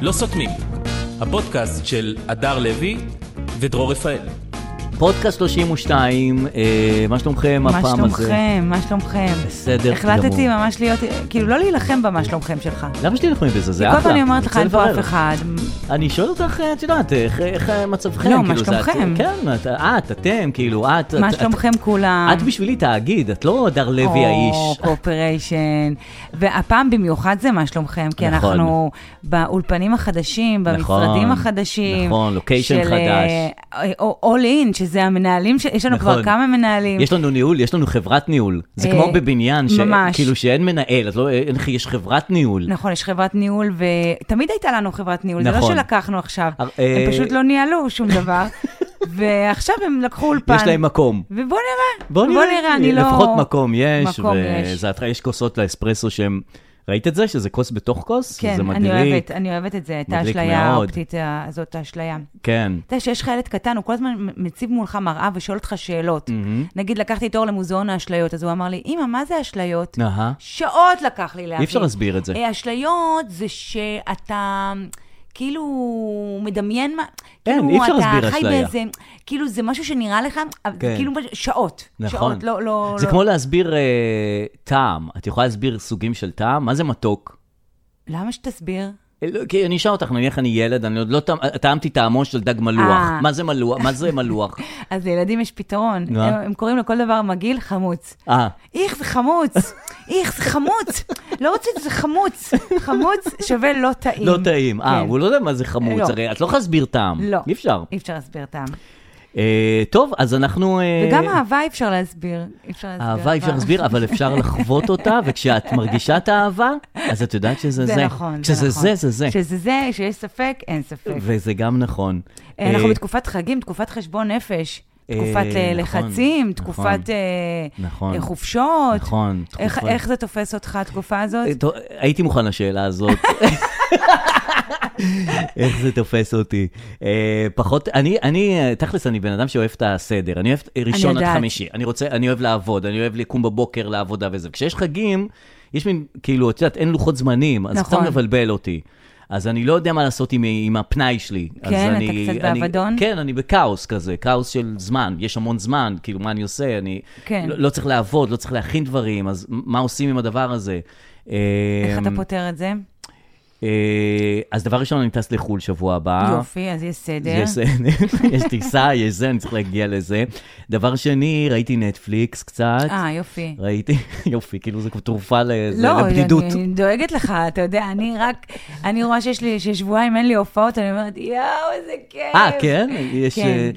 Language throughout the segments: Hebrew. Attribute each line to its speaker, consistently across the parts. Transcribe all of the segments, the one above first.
Speaker 1: לא סותמים, הפודקאסט של הדר לוי ודרור רפאל.
Speaker 2: פודקאסט 32, אה, מה שלומכם
Speaker 3: מה
Speaker 2: הפעם הזה?
Speaker 3: שלומכם? מה שלומכם?
Speaker 2: בסדר
Speaker 3: החלטתי
Speaker 2: גמור.
Speaker 3: ממש להיות, כאילו לא להילחם במה שלומכם שלך.
Speaker 2: למה שתלכו עם בזה? זה
Speaker 3: כי
Speaker 2: אחלה.
Speaker 3: כל פעם אני אומרת לך,
Speaker 2: רוצה
Speaker 3: אין פה
Speaker 2: לברר.
Speaker 3: אף אחד.
Speaker 2: אני שואל אותך, אה, את יודעת, איך- איך מצבכם?
Speaker 3: לא,
Speaker 2: כאילו,
Speaker 3: מה
Speaker 2: זה את-
Speaker 3: שלומכם?
Speaker 2: כן, את- את, אתם, כאילו, את...
Speaker 3: מה
Speaker 2: את-
Speaker 3: שלומכם
Speaker 2: את-
Speaker 3: כולם?
Speaker 2: את בשבילי תאגיד, את לא הדר לוי
Speaker 3: או,
Speaker 2: האיש.
Speaker 3: קואופריישן. והפעם במיוחד זה מה שלומכם, כי
Speaker 2: נכון.
Speaker 3: אנחנו באולפנים החדשים,
Speaker 2: נכון,
Speaker 3: במשרדים החדשים.
Speaker 2: נכון, לוקיישן
Speaker 3: של, אה, או- All in, שזה המנהלים, ש- יש לנו
Speaker 2: נכון.
Speaker 3: כבר כמה מנהלים.
Speaker 2: יש לנו ניהול, יש לנו חברת ניהול. זה
Speaker 3: אה,
Speaker 2: כמו בבניין, ש-
Speaker 3: ממש.
Speaker 2: כאילו שאין מנהל, אז לא, אין- יש חברת ניהול.
Speaker 3: נכון, יש חברת ניהול, ותמיד הייתה לנו חברת ניהול, זה לא
Speaker 2: נכון.
Speaker 3: שלקחנו עכשיו,
Speaker 2: הר- אה,
Speaker 3: הם פשוט לא ניהלו שום דבר, ועכשיו הם לקחו אולפן.
Speaker 2: יש להם מקום.
Speaker 3: ובוא נראה, בוא נראה, אני לא...
Speaker 2: לפחות מקום יש,
Speaker 3: מקום יש.
Speaker 2: וזה התחלה, יש כוסות לאספרסו שהם... ראית את זה? שזה כוס בתוך כוס?
Speaker 3: כן,
Speaker 2: זה
Speaker 3: אני
Speaker 2: מדליק.
Speaker 3: אוהבת, אני אוהבת את זה, את
Speaker 2: מדליק
Speaker 3: האשליה
Speaker 2: מאוד.
Speaker 3: האופטית ה- הזאת, האשליה.
Speaker 2: כן.
Speaker 3: אתה יודע שיש לך ילד קטן, הוא כל הזמן מציב מולך מראה ושואל אותך שאלות. נגיד, לקחתי את אור למוזיאון האשליות, אז הוא אמר לי, אמא, מה זה אשליות?
Speaker 2: אהה.
Speaker 3: שעות לקח לי להבין.
Speaker 2: אי אפשר להסביר את זה.
Speaker 3: אה, אשליות זה שאתה כאילו מדמיין מה...
Speaker 2: אין,
Speaker 3: כאילו
Speaker 2: כן, אי אפשר להסביר
Speaker 3: אתה חי
Speaker 2: אשליה.
Speaker 3: באיזה... כאילו זה משהו שנראה לך, אבל זה
Speaker 2: כן.
Speaker 3: כאילו שעות.
Speaker 2: נכון.
Speaker 3: שעות, לא... לא
Speaker 2: זה
Speaker 3: לא-
Speaker 2: כמו להסביר אה, טעם. את יכולה להסביר סוגים של טעם? מה זה מתוק?
Speaker 3: למה שתסביר?
Speaker 2: אה, לא, כי אני אשאל אותך, נניח אני ילד, אני עוד לא טעם- טעמתי טעמו של דג מלוח.
Speaker 3: אה.
Speaker 2: מה זה מלוח? מה זה מלוח?
Speaker 3: אז לילדים יש פתרון. הם,
Speaker 2: מה?
Speaker 3: הם קוראים לכל דבר מגעיל חמוץ.
Speaker 2: אה,
Speaker 3: איך זה חמוץ, איך זה חמוץ, לא רוצה את זה חמוץ, חמוץ שווה לא טעים.
Speaker 2: לא טעים. אה,
Speaker 3: כן.
Speaker 2: הוא לא יודע מה זה חמוץ,
Speaker 3: לא.
Speaker 2: הרי את לא יכולה להסביר טעם.
Speaker 3: לא.
Speaker 2: אי אפשר.
Speaker 3: אי אפשר להסביר טעם.
Speaker 2: אה, טוב, אז אנחנו... אה,
Speaker 3: וגם אהבה אי אפשר להסביר. אי אפשר להסביר.
Speaker 2: אהבה אי אפשר להסביר, אבל אפשר לחוות אותה, וכשאת מרגישה את האהבה, אז את יודעת שזה זה.
Speaker 3: זה נכון,
Speaker 2: כשזה
Speaker 3: זה נכון.
Speaker 2: זה, זה זה.
Speaker 3: שזה זה, שיש ספק, אין ספק.
Speaker 2: וזה גם נכון.
Speaker 3: אנחנו
Speaker 2: אה,
Speaker 3: בתקופת חגים, תקופת חשבון נפש.
Speaker 2: אה,
Speaker 3: תקופת אה,
Speaker 2: נכון,
Speaker 3: לחצים,
Speaker 2: נכון,
Speaker 3: תקופת אה,
Speaker 2: נכון.
Speaker 3: אה, חופשות.
Speaker 2: נכון,
Speaker 3: איך-
Speaker 2: תקופת-
Speaker 3: איך זה תופס אותך, התקופה הזאת?
Speaker 2: אה, טוב, הייתי מוכן לשאלה הזאת. איך זה תופס אותי. אה, פחות, אני, אני, אה, תכלס, אני בן אדם שאוהב את הסדר. אני אוהב אה, ראשון עד
Speaker 3: יודעת.
Speaker 2: חמישי. אני רוצה, אני אוהב לעבוד, אני אוהב לקום בבוקר לעבודה וזה. כשיש חגים, יש מין, כאילו, את יודעת, אין לוחות זמנים, אז
Speaker 3: נכון.
Speaker 2: קצת מבלבל אותי. אז אני לא יודע מה לעשות עם, עם הפנאי שלי. אז
Speaker 3: כן, אתה
Speaker 2: אני-
Speaker 3: קצת
Speaker 2: אני-
Speaker 3: באבדון?
Speaker 2: כן, אני בכאוס כזה, כאוס של זמן, יש המון זמן, כאילו, מה אני עושה? אני
Speaker 3: כן.
Speaker 2: לא, לא צריך לעבוד, לא צריך להכין דברים, אז מה עושים עם הדבר הזה? אמ,
Speaker 3: איך אתה פותר את זה?
Speaker 2: אה, אז דבר ראשון, אני טס לחו"ל שבוע הבא.
Speaker 3: יופי, אז יש סדר.
Speaker 2: יש, יש טיסה, יש זה, אני צריך להגיע לזה. דבר שני, ראיתי נטפליקס קצת.
Speaker 3: אה, יופי.
Speaker 2: ראיתי, יופי, כאילו זה כמו תרופה ל- זה-
Speaker 3: לא,
Speaker 2: לבדידות.
Speaker 3: אני דואגת לך, אתה יודע, אני רק, אני רואה שיש לי, ששבועיים אין לי הופעות, אני אומרת, יואו, איזה כיף.
Speaker 2: אה, כן? יש...
Speaker 3: כן.
Speaker 2: אה,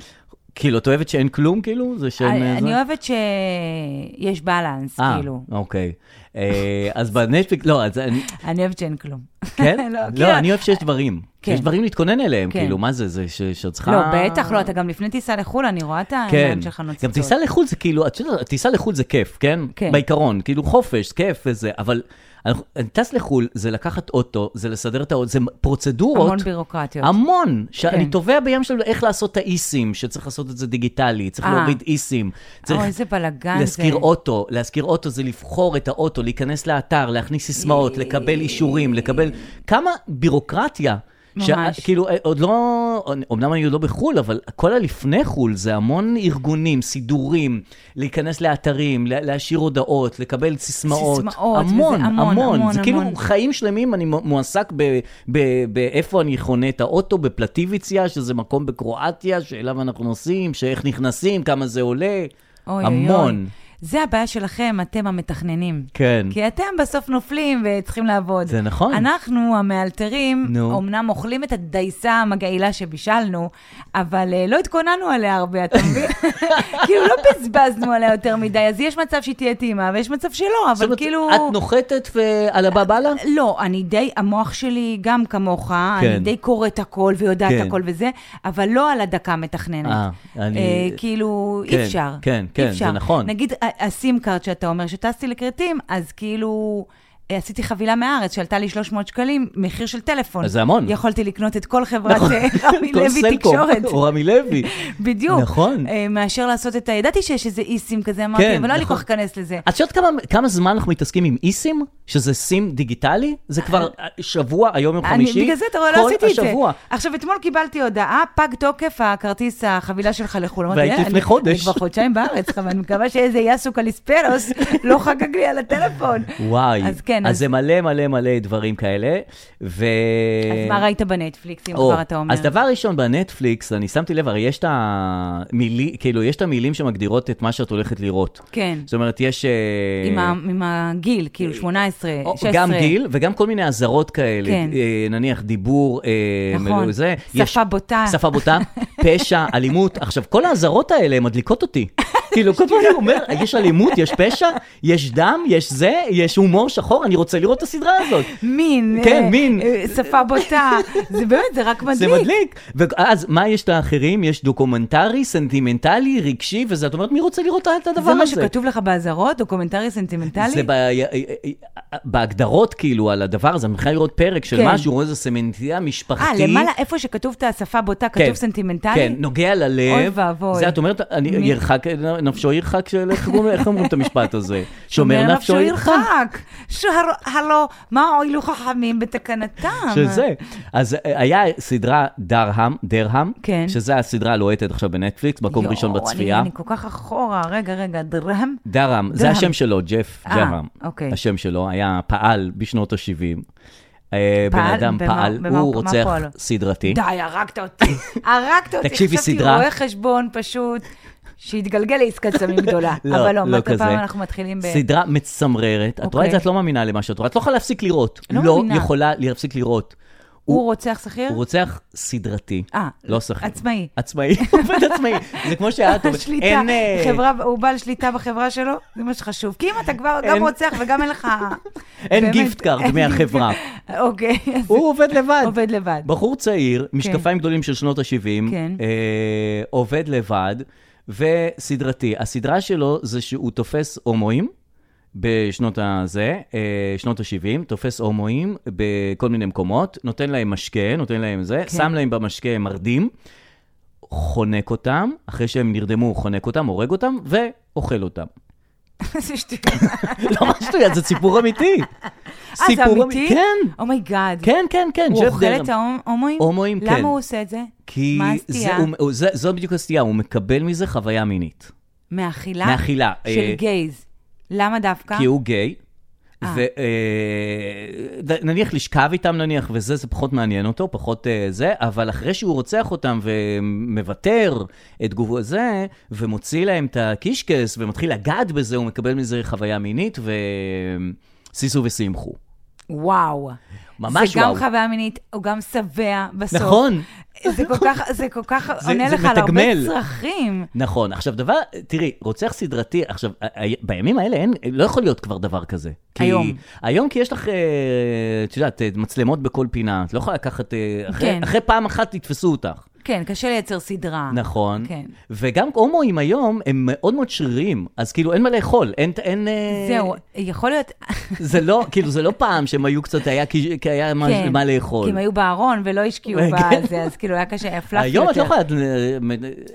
Speaker 2: כאילו, את אוהבת שאין כלום, כאילו? זה שאין... אה,
Speaker 3: אני-
Speaker 2: זה?
Speaker 3: אני אוהבת שיש בלנס,
Speaker 2: אה,
Speaker 3: כאילו.
Speaker 2: אוקיי. אה, אז בנטפליקס, לא, אז אני...
Speaker 3: אני אוהבת שאין כלום.
Speaker 2: כן?
Speaker 3: לא, כאילו-
Speaker 2: לא, אני אוהב שיש דברים.
Speaker 3: כן.
Speaker 2: שיש דברים להתכונן אליהם,
Speaker 3: כן.
Speaker 2: כאילו, מה זה, זה ש- שאת צריכה...
Speaker 3: לא, בטח לא, אתה גם לפני טיסה לחו"ל, אני רואה את
Speaker 2: אה. כן.
Speaker 3: העיניים שלך נוצצות.
Speaker 2: גם טיסה לחו"ל זה כאילו, את יודעת, טיסה לחו"ל זה כיף, כן?
Speaker 3: כן.
Speaker 2: בעיקרון, כאילו חופש, כיף וזה, אבל אנחנו- אני טס לחו"ל, זה לקחת אוטו, זה לסדר את האוטו, זה פרוצדורות.
Speaker 3: המון בירוקרטיות.
Speaker 2: המון, שאני
Speaker 3: כן.
Speaker 2: תובע בים של איך לעשות את האיסים, שצריך לעשות את זה דיגיטלי, צריך
Speaker 3: אה.
Speaker 2: להוריד איסים, צריך
Speaker 3: אוי, איזה בלאגן זה.
Speaker 2: להשכיר אוטו, להשכיר אוטו זה לבחור את האוטו, להיכנס לאתר, להכניס סיסמאות, לקבל אישורים, לקבל... כמה בירוקרטיה.
Speaker 3: ממש.
Speaker 2: כאילו, אה, עוד לא, אמנם אני עוד לא בחו"ל, אבל כל הלפני חו"ל זה המון ארגונים, סידורים, להיכנס לאתרים, לה- להשאיר הודעות, לקבל סיסמאות.
Speaker 3: סיסמאות, וזה
Speaker 2: המון,
Speaker 3: המון,
Speaker 2: המון.
Speaker 3: המון,
Speaker 2: זה כאילו
Speaker 3: המון.
Speaker 2: חיים שלמים, אני מ- מועסק ב- ב- באיפה אני חונה את האוטו, בפלטיביציה, שזה מקום בקרואטיה, שאליו אנחנו נוסעים, שאיך נכנסים, כמה זה עולה.
Speaker 3: אוי, אוי,
Speaker 2: המון.
Speaker 3: אוי. זה הבעיה שלכם, אתם המתכננים.
Speaker 2: כן.
Speaker 3: כי אתם בסוף נופלים וצריכים לעבוד.
Speaker 2: זה נכון.
Speaker 3: אנחנו, המאלתרים,
Speaker 2: נו.
Speaker 3: אמנם אוכלים את הדייסה המגעילה שבישלנו, אבל אה, לא התכוננו עליה הרבה, אתה מבין? כאילו, לא בזבזנו עליה יותר מדי, אז יש מצב שהיא תהיה טעימה, ויש מצב שלא,
Speaker 2: זאת
Speaker 3: אבל
Speaker 2: אומרת,
Speaker 3: כאילו...
Speaker 2: את נוחתת ועל הבא בלה?
Speaker 3: לא, אני די, המוח שלי גם כמוך, כן.
Speaker 2: כן.
Speaker 3: אני די קוראת הכל ויודעת
Speaker 2: כן.
Speaker 3: הכל וזה, אבל לא על הדקה מתכננת.
Speaker 2: אה, אני-
Speaker 3: אה, כאילו,
Speaker 2: כן,
Speaker 3: אי אפשר.
Speaker 2: כן, כן,
Speaker 3: אי
Speaker 2: זה
Speaker 3: אפשר.
Speaker 2: נכון.
Speaker 3: נגיד, ה- הסים קארד שאתה אומר שטסתי לכרתים, אז כאילו... אה, עשיתי חבילה מהארץ שעלתה לי 300 שקלים, מחיר של טלפון.
Speaker 2: אז זה המון. נכון,
Speaker 3: יכולתי לקנות את כל חברת אה, רמי
Speaker 2: כל
Speaker 3: לוי
Speaker 2: סלקום,
Speaker 3: תקשורת.
Speaker 2: או רמי לוי.
Speaker 3: בדיוק.
Speaker 2: נכון.
Speaker 3: אה, מאשר לעשות את ה... ידעתי שיש איזה איסים כזה, אמרתי,
Speaker 2: כן,
Speaker 3: אבל לא היה לי
Speaker 2: נכון.
Speaker 3: כוח להיכנס לזה.
Speaker 2: את יודעת כמה, כמה זמן אנחנו מתעסקים עם איסים? שזה סים דיגיטלי? זה כבר שבוע, היום יום
Speaker 3: אה, אני,
Speaker 2: חמישי.
Speaker 3: בגלל זה, אתה רואה, לא עשיתי את זה.
Speaker 2: כל השבוע.
Speaker 3: עכשיו, אתמול קיבלתי הודעה, פג תוקף הכרטיס, החבילה שלך לחו"ל. אמרתי,
Speaker 2: והייתי
Speaker 3: "אה,
Speaker 2: לפני
Speaker 3: אני-
Speaker 2: חודש."
Speaker 3: אני כבר חודשיים בארץ, אבל אני מקווה שאיזה יאסו קליספרוס לא חגג לי על הטלפון.
Speaker 2: וואי.
Speaker 3: אז כן,
Speaker 2: אז
Speaker 3: אז
Speaker 2: זה מלא מלא מלא דברים כאלה. ו...
Speaker 3: אז מה ראית בנטפליקס, אם
Speaker 2: או,
Speaker 3: כבר אתה אומר?
Speaker 2: אז דבר ראשון, בנטפליקס, אני שמתי לב, הרי יש את המילים, כאילו, יש את המילים שמגדירות את מה שאת הולכת לראות.
Speaker 3: כן.
Speaker 2: זאת אומרת, יש... אה,
Speaker 3: עם ה- עם הגיל, כאילו 18,
Speaker 2: או,
Speaker 3: 16.
Speaker 2: גם גיל וגם כל מיני אזהרות כאלה,
Speaker 3: כן.
Speaker 2: אה, נניח דיבור, אה,
Speaker 3: נכון.
Speaker 2: מלא- זה.
Speaker 3: שפה בוטה.
Speaker 2: שפה בוטה, פשע, אלימות. עכשיו, כל האזהרות האלה הן מדליקות אותי. כאילו, כל פעם אני אומר, יש אלימות, יש פשע, יש דם, יש זה, יש הומור שחור, אני רוצה לראות את הסדרה הזאת.
Speaker 3: מין.
Speaker 2: כן,
Speaker 3: אה,
Speaker 2: מין.
Speaker 3: אה, שפה בוטה. זה באמת, זה רק מדליק.
Speaker 2: זה מדליק. ואז מה יש לאחרים? יש דוקומנטרי, סנטימנטלי, רגשי, וזה, את אומרת, מי רוצה לראות את הדבר
Speaker 3: זה מה
Speaker 2: הזה?
Speaker 3: שכתוב לך באזהרות, דוקומנטרי סנטימנטלי?
Speaker 2: זה ב- אה, בהגדרות, כאילו, על הדבר הזה, אני מתחילה לראות פרק של
Speaker 3: כן.
Speaker 2: משהו, רואה איזה סמנטיה משפחתי.
Speaker 3: אה, למעלה, איפה שכתוב את השפה בוטה,
Speaker 2: כן,
Speaker 3: כתוב סנטימנטלי?
Speaker 2: כן, נוגע ללב.
Speaker 3: אוי ואבוי.
Speaker 2: זה את אומרת, אני
Speaker 3: מי-
Speaker 2: ירחק, נפשו ירחק, של- איך אומרים- איך אומרים את המשפט הזה?
Speaker 3: אומר
Speaker 2: שומר נפשו ירחק.
Speaker 3: שהלא, מה הועילו חכמים בתקנתם?
Speaker 2: שזה. אז אה, היה סדרה דרהם, דרהם,
Speaker 3: כן.
Speaker 2: שזה הסדרה הלוהטת עכשיו בנטפליקס, מקום
Speaker 3: יואו,
Speaker 2: ראשון בצפייה.
Speaker 3: אני, אני כל כך אחורה, רגע, רגע, דרם.
Speaker 2: דרם, זה
Speaker 3: דרהם.
Speaker 2: השם שלו, ג'ף
Speaker 3: אה,
Speaker 2: דרם.
Speaker 3: אוקיי.
Speaker 2: השם שלו, היה פעל בשנות ה-70. אה, בן
Speaker 3: פעל?
Speaker 2: אדם
Speaker 3: במה-
Speaker 2: פעל,
Speaker 3: במה-
Speaker 2: הוא
Speaker 3: מה
Speaker 2: רוצח
Speaker 3: פועלו?
Speaker 2: סדרתי.
Speaker 3: די, הרגת אותי. הרגת אותי.
Speaker 2: תקשיבי, סדרה-
Speaker 3: חשבתי רואה חשבון פשוט, שהתגלגל לעסקת סמים גדולה. אבל לא, מה כל פעם אנחנו מתחילים ב...
Speaker 2: סדרה מצמררת, את רואה את זה,
Speaker 3: אוקיי.
Speaker 2: את לא מאמינה למה שאת רואה, את לא יכולה להפסיק לראות.
Speaker 3: לא
Speaker 2: לא
Speaker 3: מאמינה.
Speaker 2: יכולה להפסיק לראות.
Speaker 3: הוא רוצח שכיר?
Speaker 2: הוא רוצח סדרתי,
Speaker 3: אה,
Speaker 2: לא שכיר.
Speaker 3: עצמאי.
Speaker 2: עצמאי, עובד עצמאי. זה כמו שאת אומרת,
Speaker 3: שליטה,
Speaker 2: אין... אה,
Speaker 3: חברה, הוא בעל שליטה בחברה שלו, זה מה שחשוב. כי אם אתה כבר גם
Speaker 2: אין-
Speaker 3: רוצח וגם אין לך...
Speaker 2: אין
Speaker 3: באמת,
Speaker 2: גיפט קארד
Speaker 3: אין
Speaker 2: מהחברה.
Speaker 3: גיפט- אוקיי, אז
Speaker 2: הוא עובד לבד.
Speaker 3: עובד לבד.
Speaker 2: בחור צעיר, משקפיים גדולים של שנות ה-70,
Speaker 3: כן.
Speaker 2: אה, עובד לבד, וסדרתי. הסדרה שלו זה שהוא תופס הומואים בשנות הזה, אה, שנות ה-70, תופס הומואים בכל מיני מקומות, נותן להם משקה, נותן להם זה,
Speaker 3: כן.
Speaker 2: שם להם במשקה מרדים, חונק אותם, אחרי שהם נרדמו הוא חונק אותם, הורג אותם, ואוכל אותם.
Speaker 3: זה שטויות.
Speaker 2: לא מה שטויות, זה סיפור אמיתי.
Speaker 3: אה, זה
Speaker 2: סיפור
Speaker 3: אמיתי?
Speaker 2: כן,
Speaker 3: אומייגאד.
Speaker 2: כן, כן, כן.
Speaker 3: הוא
Speaker 2: ג'ף
Speaker 3: אוכל
Speaker 2: דרם.
Speaker 3: את ההומואים?
Speaker 2: הומואים, כן.
Speaker 3: למה הוא עושה את זה?
Speaker 2: כי
Speaker 3: מה
Speaker 2: זה,
Speaker 3: הסטייה?
Speaker 2: הוא- הוא, זה, זו בדיוק הסטייה, הוא מקבל מזה חוויה מינית.
Speaker 3: מאכילה?
Speaker 2: מאכילה. אה,
Speaker 3: של גייז. למה דווקא?
Speaker 2: כי הוא גיי.
Speaker 3: אה.
Speaker 2: ונניח לשכב איתם נניח, וזה, זה פחות מעניין אותו, פחות אה, זה, אבל אחרי שהוא רוצח אותם ומוותר את גובו הזה, ומוציא להם את הקישקס, ומתחיל לגעת בזה, הוא מקבל מזה חוויה מינית, ושישו ושמחו.
Speaker 3: וואו.
Speaker 2: ממש
Speaker 3: זה גם
Speaker 2: וואו.
Speaker 3: חוויה מינית, הוא גם שבע בסוף.
Speaker 2: נכון.
Speaker 3: זה כל כך, זה כל כך
Speaker 2: זה-
Speaker 3: עונה
Speaker 2: זה
Speaker 3: לך על הרבה
Speaker 2: מתגמל.
Speaker 3: צרכים.
Speaker 2: נכון, עכשיו דבר, תראי, רוצח סדרתי, עכשיו, ה- ה- בימים האלה אין, לא יכול להיות כבר דבר כזה. כי,
Speaker 3: היום.
Speaker 2: היום כי יש לך, אה, את יודעת, אה, מצלמות בכל פינה, את לא יכולה לקחת, אה, אחרי,
Speaker 3: כן.
Speaker 2: אחרי פעם אחת יתפסו אותך.
Speaker 3: כן, קשה לייצר סדרה.
Speaker 2: נכון.
Speaker 3: כן.
Speaker 2: וגם הומואים היום הם מאוד מאוד שריריים, אז כאילו אין מה לאכול, אין... אין אה,
Speaker 3: זהו, יכול להיות,
Speaker 2: זה לא, כאילו זה לא פעם שהם היו קצת, היה, כי- כי היה מה,
Speaker 3: כן.
Speaker 2: מה
Speaker 3: כי
Speaker 2: לאכול.
Speaker 3: הם היו בארון ולא השקיעו
Speaker 2: כן.
Speaker 3: בזה, אז כאילו היה קשה, הפלפתי יותר.
Speaker 2: היום את לא יכולה,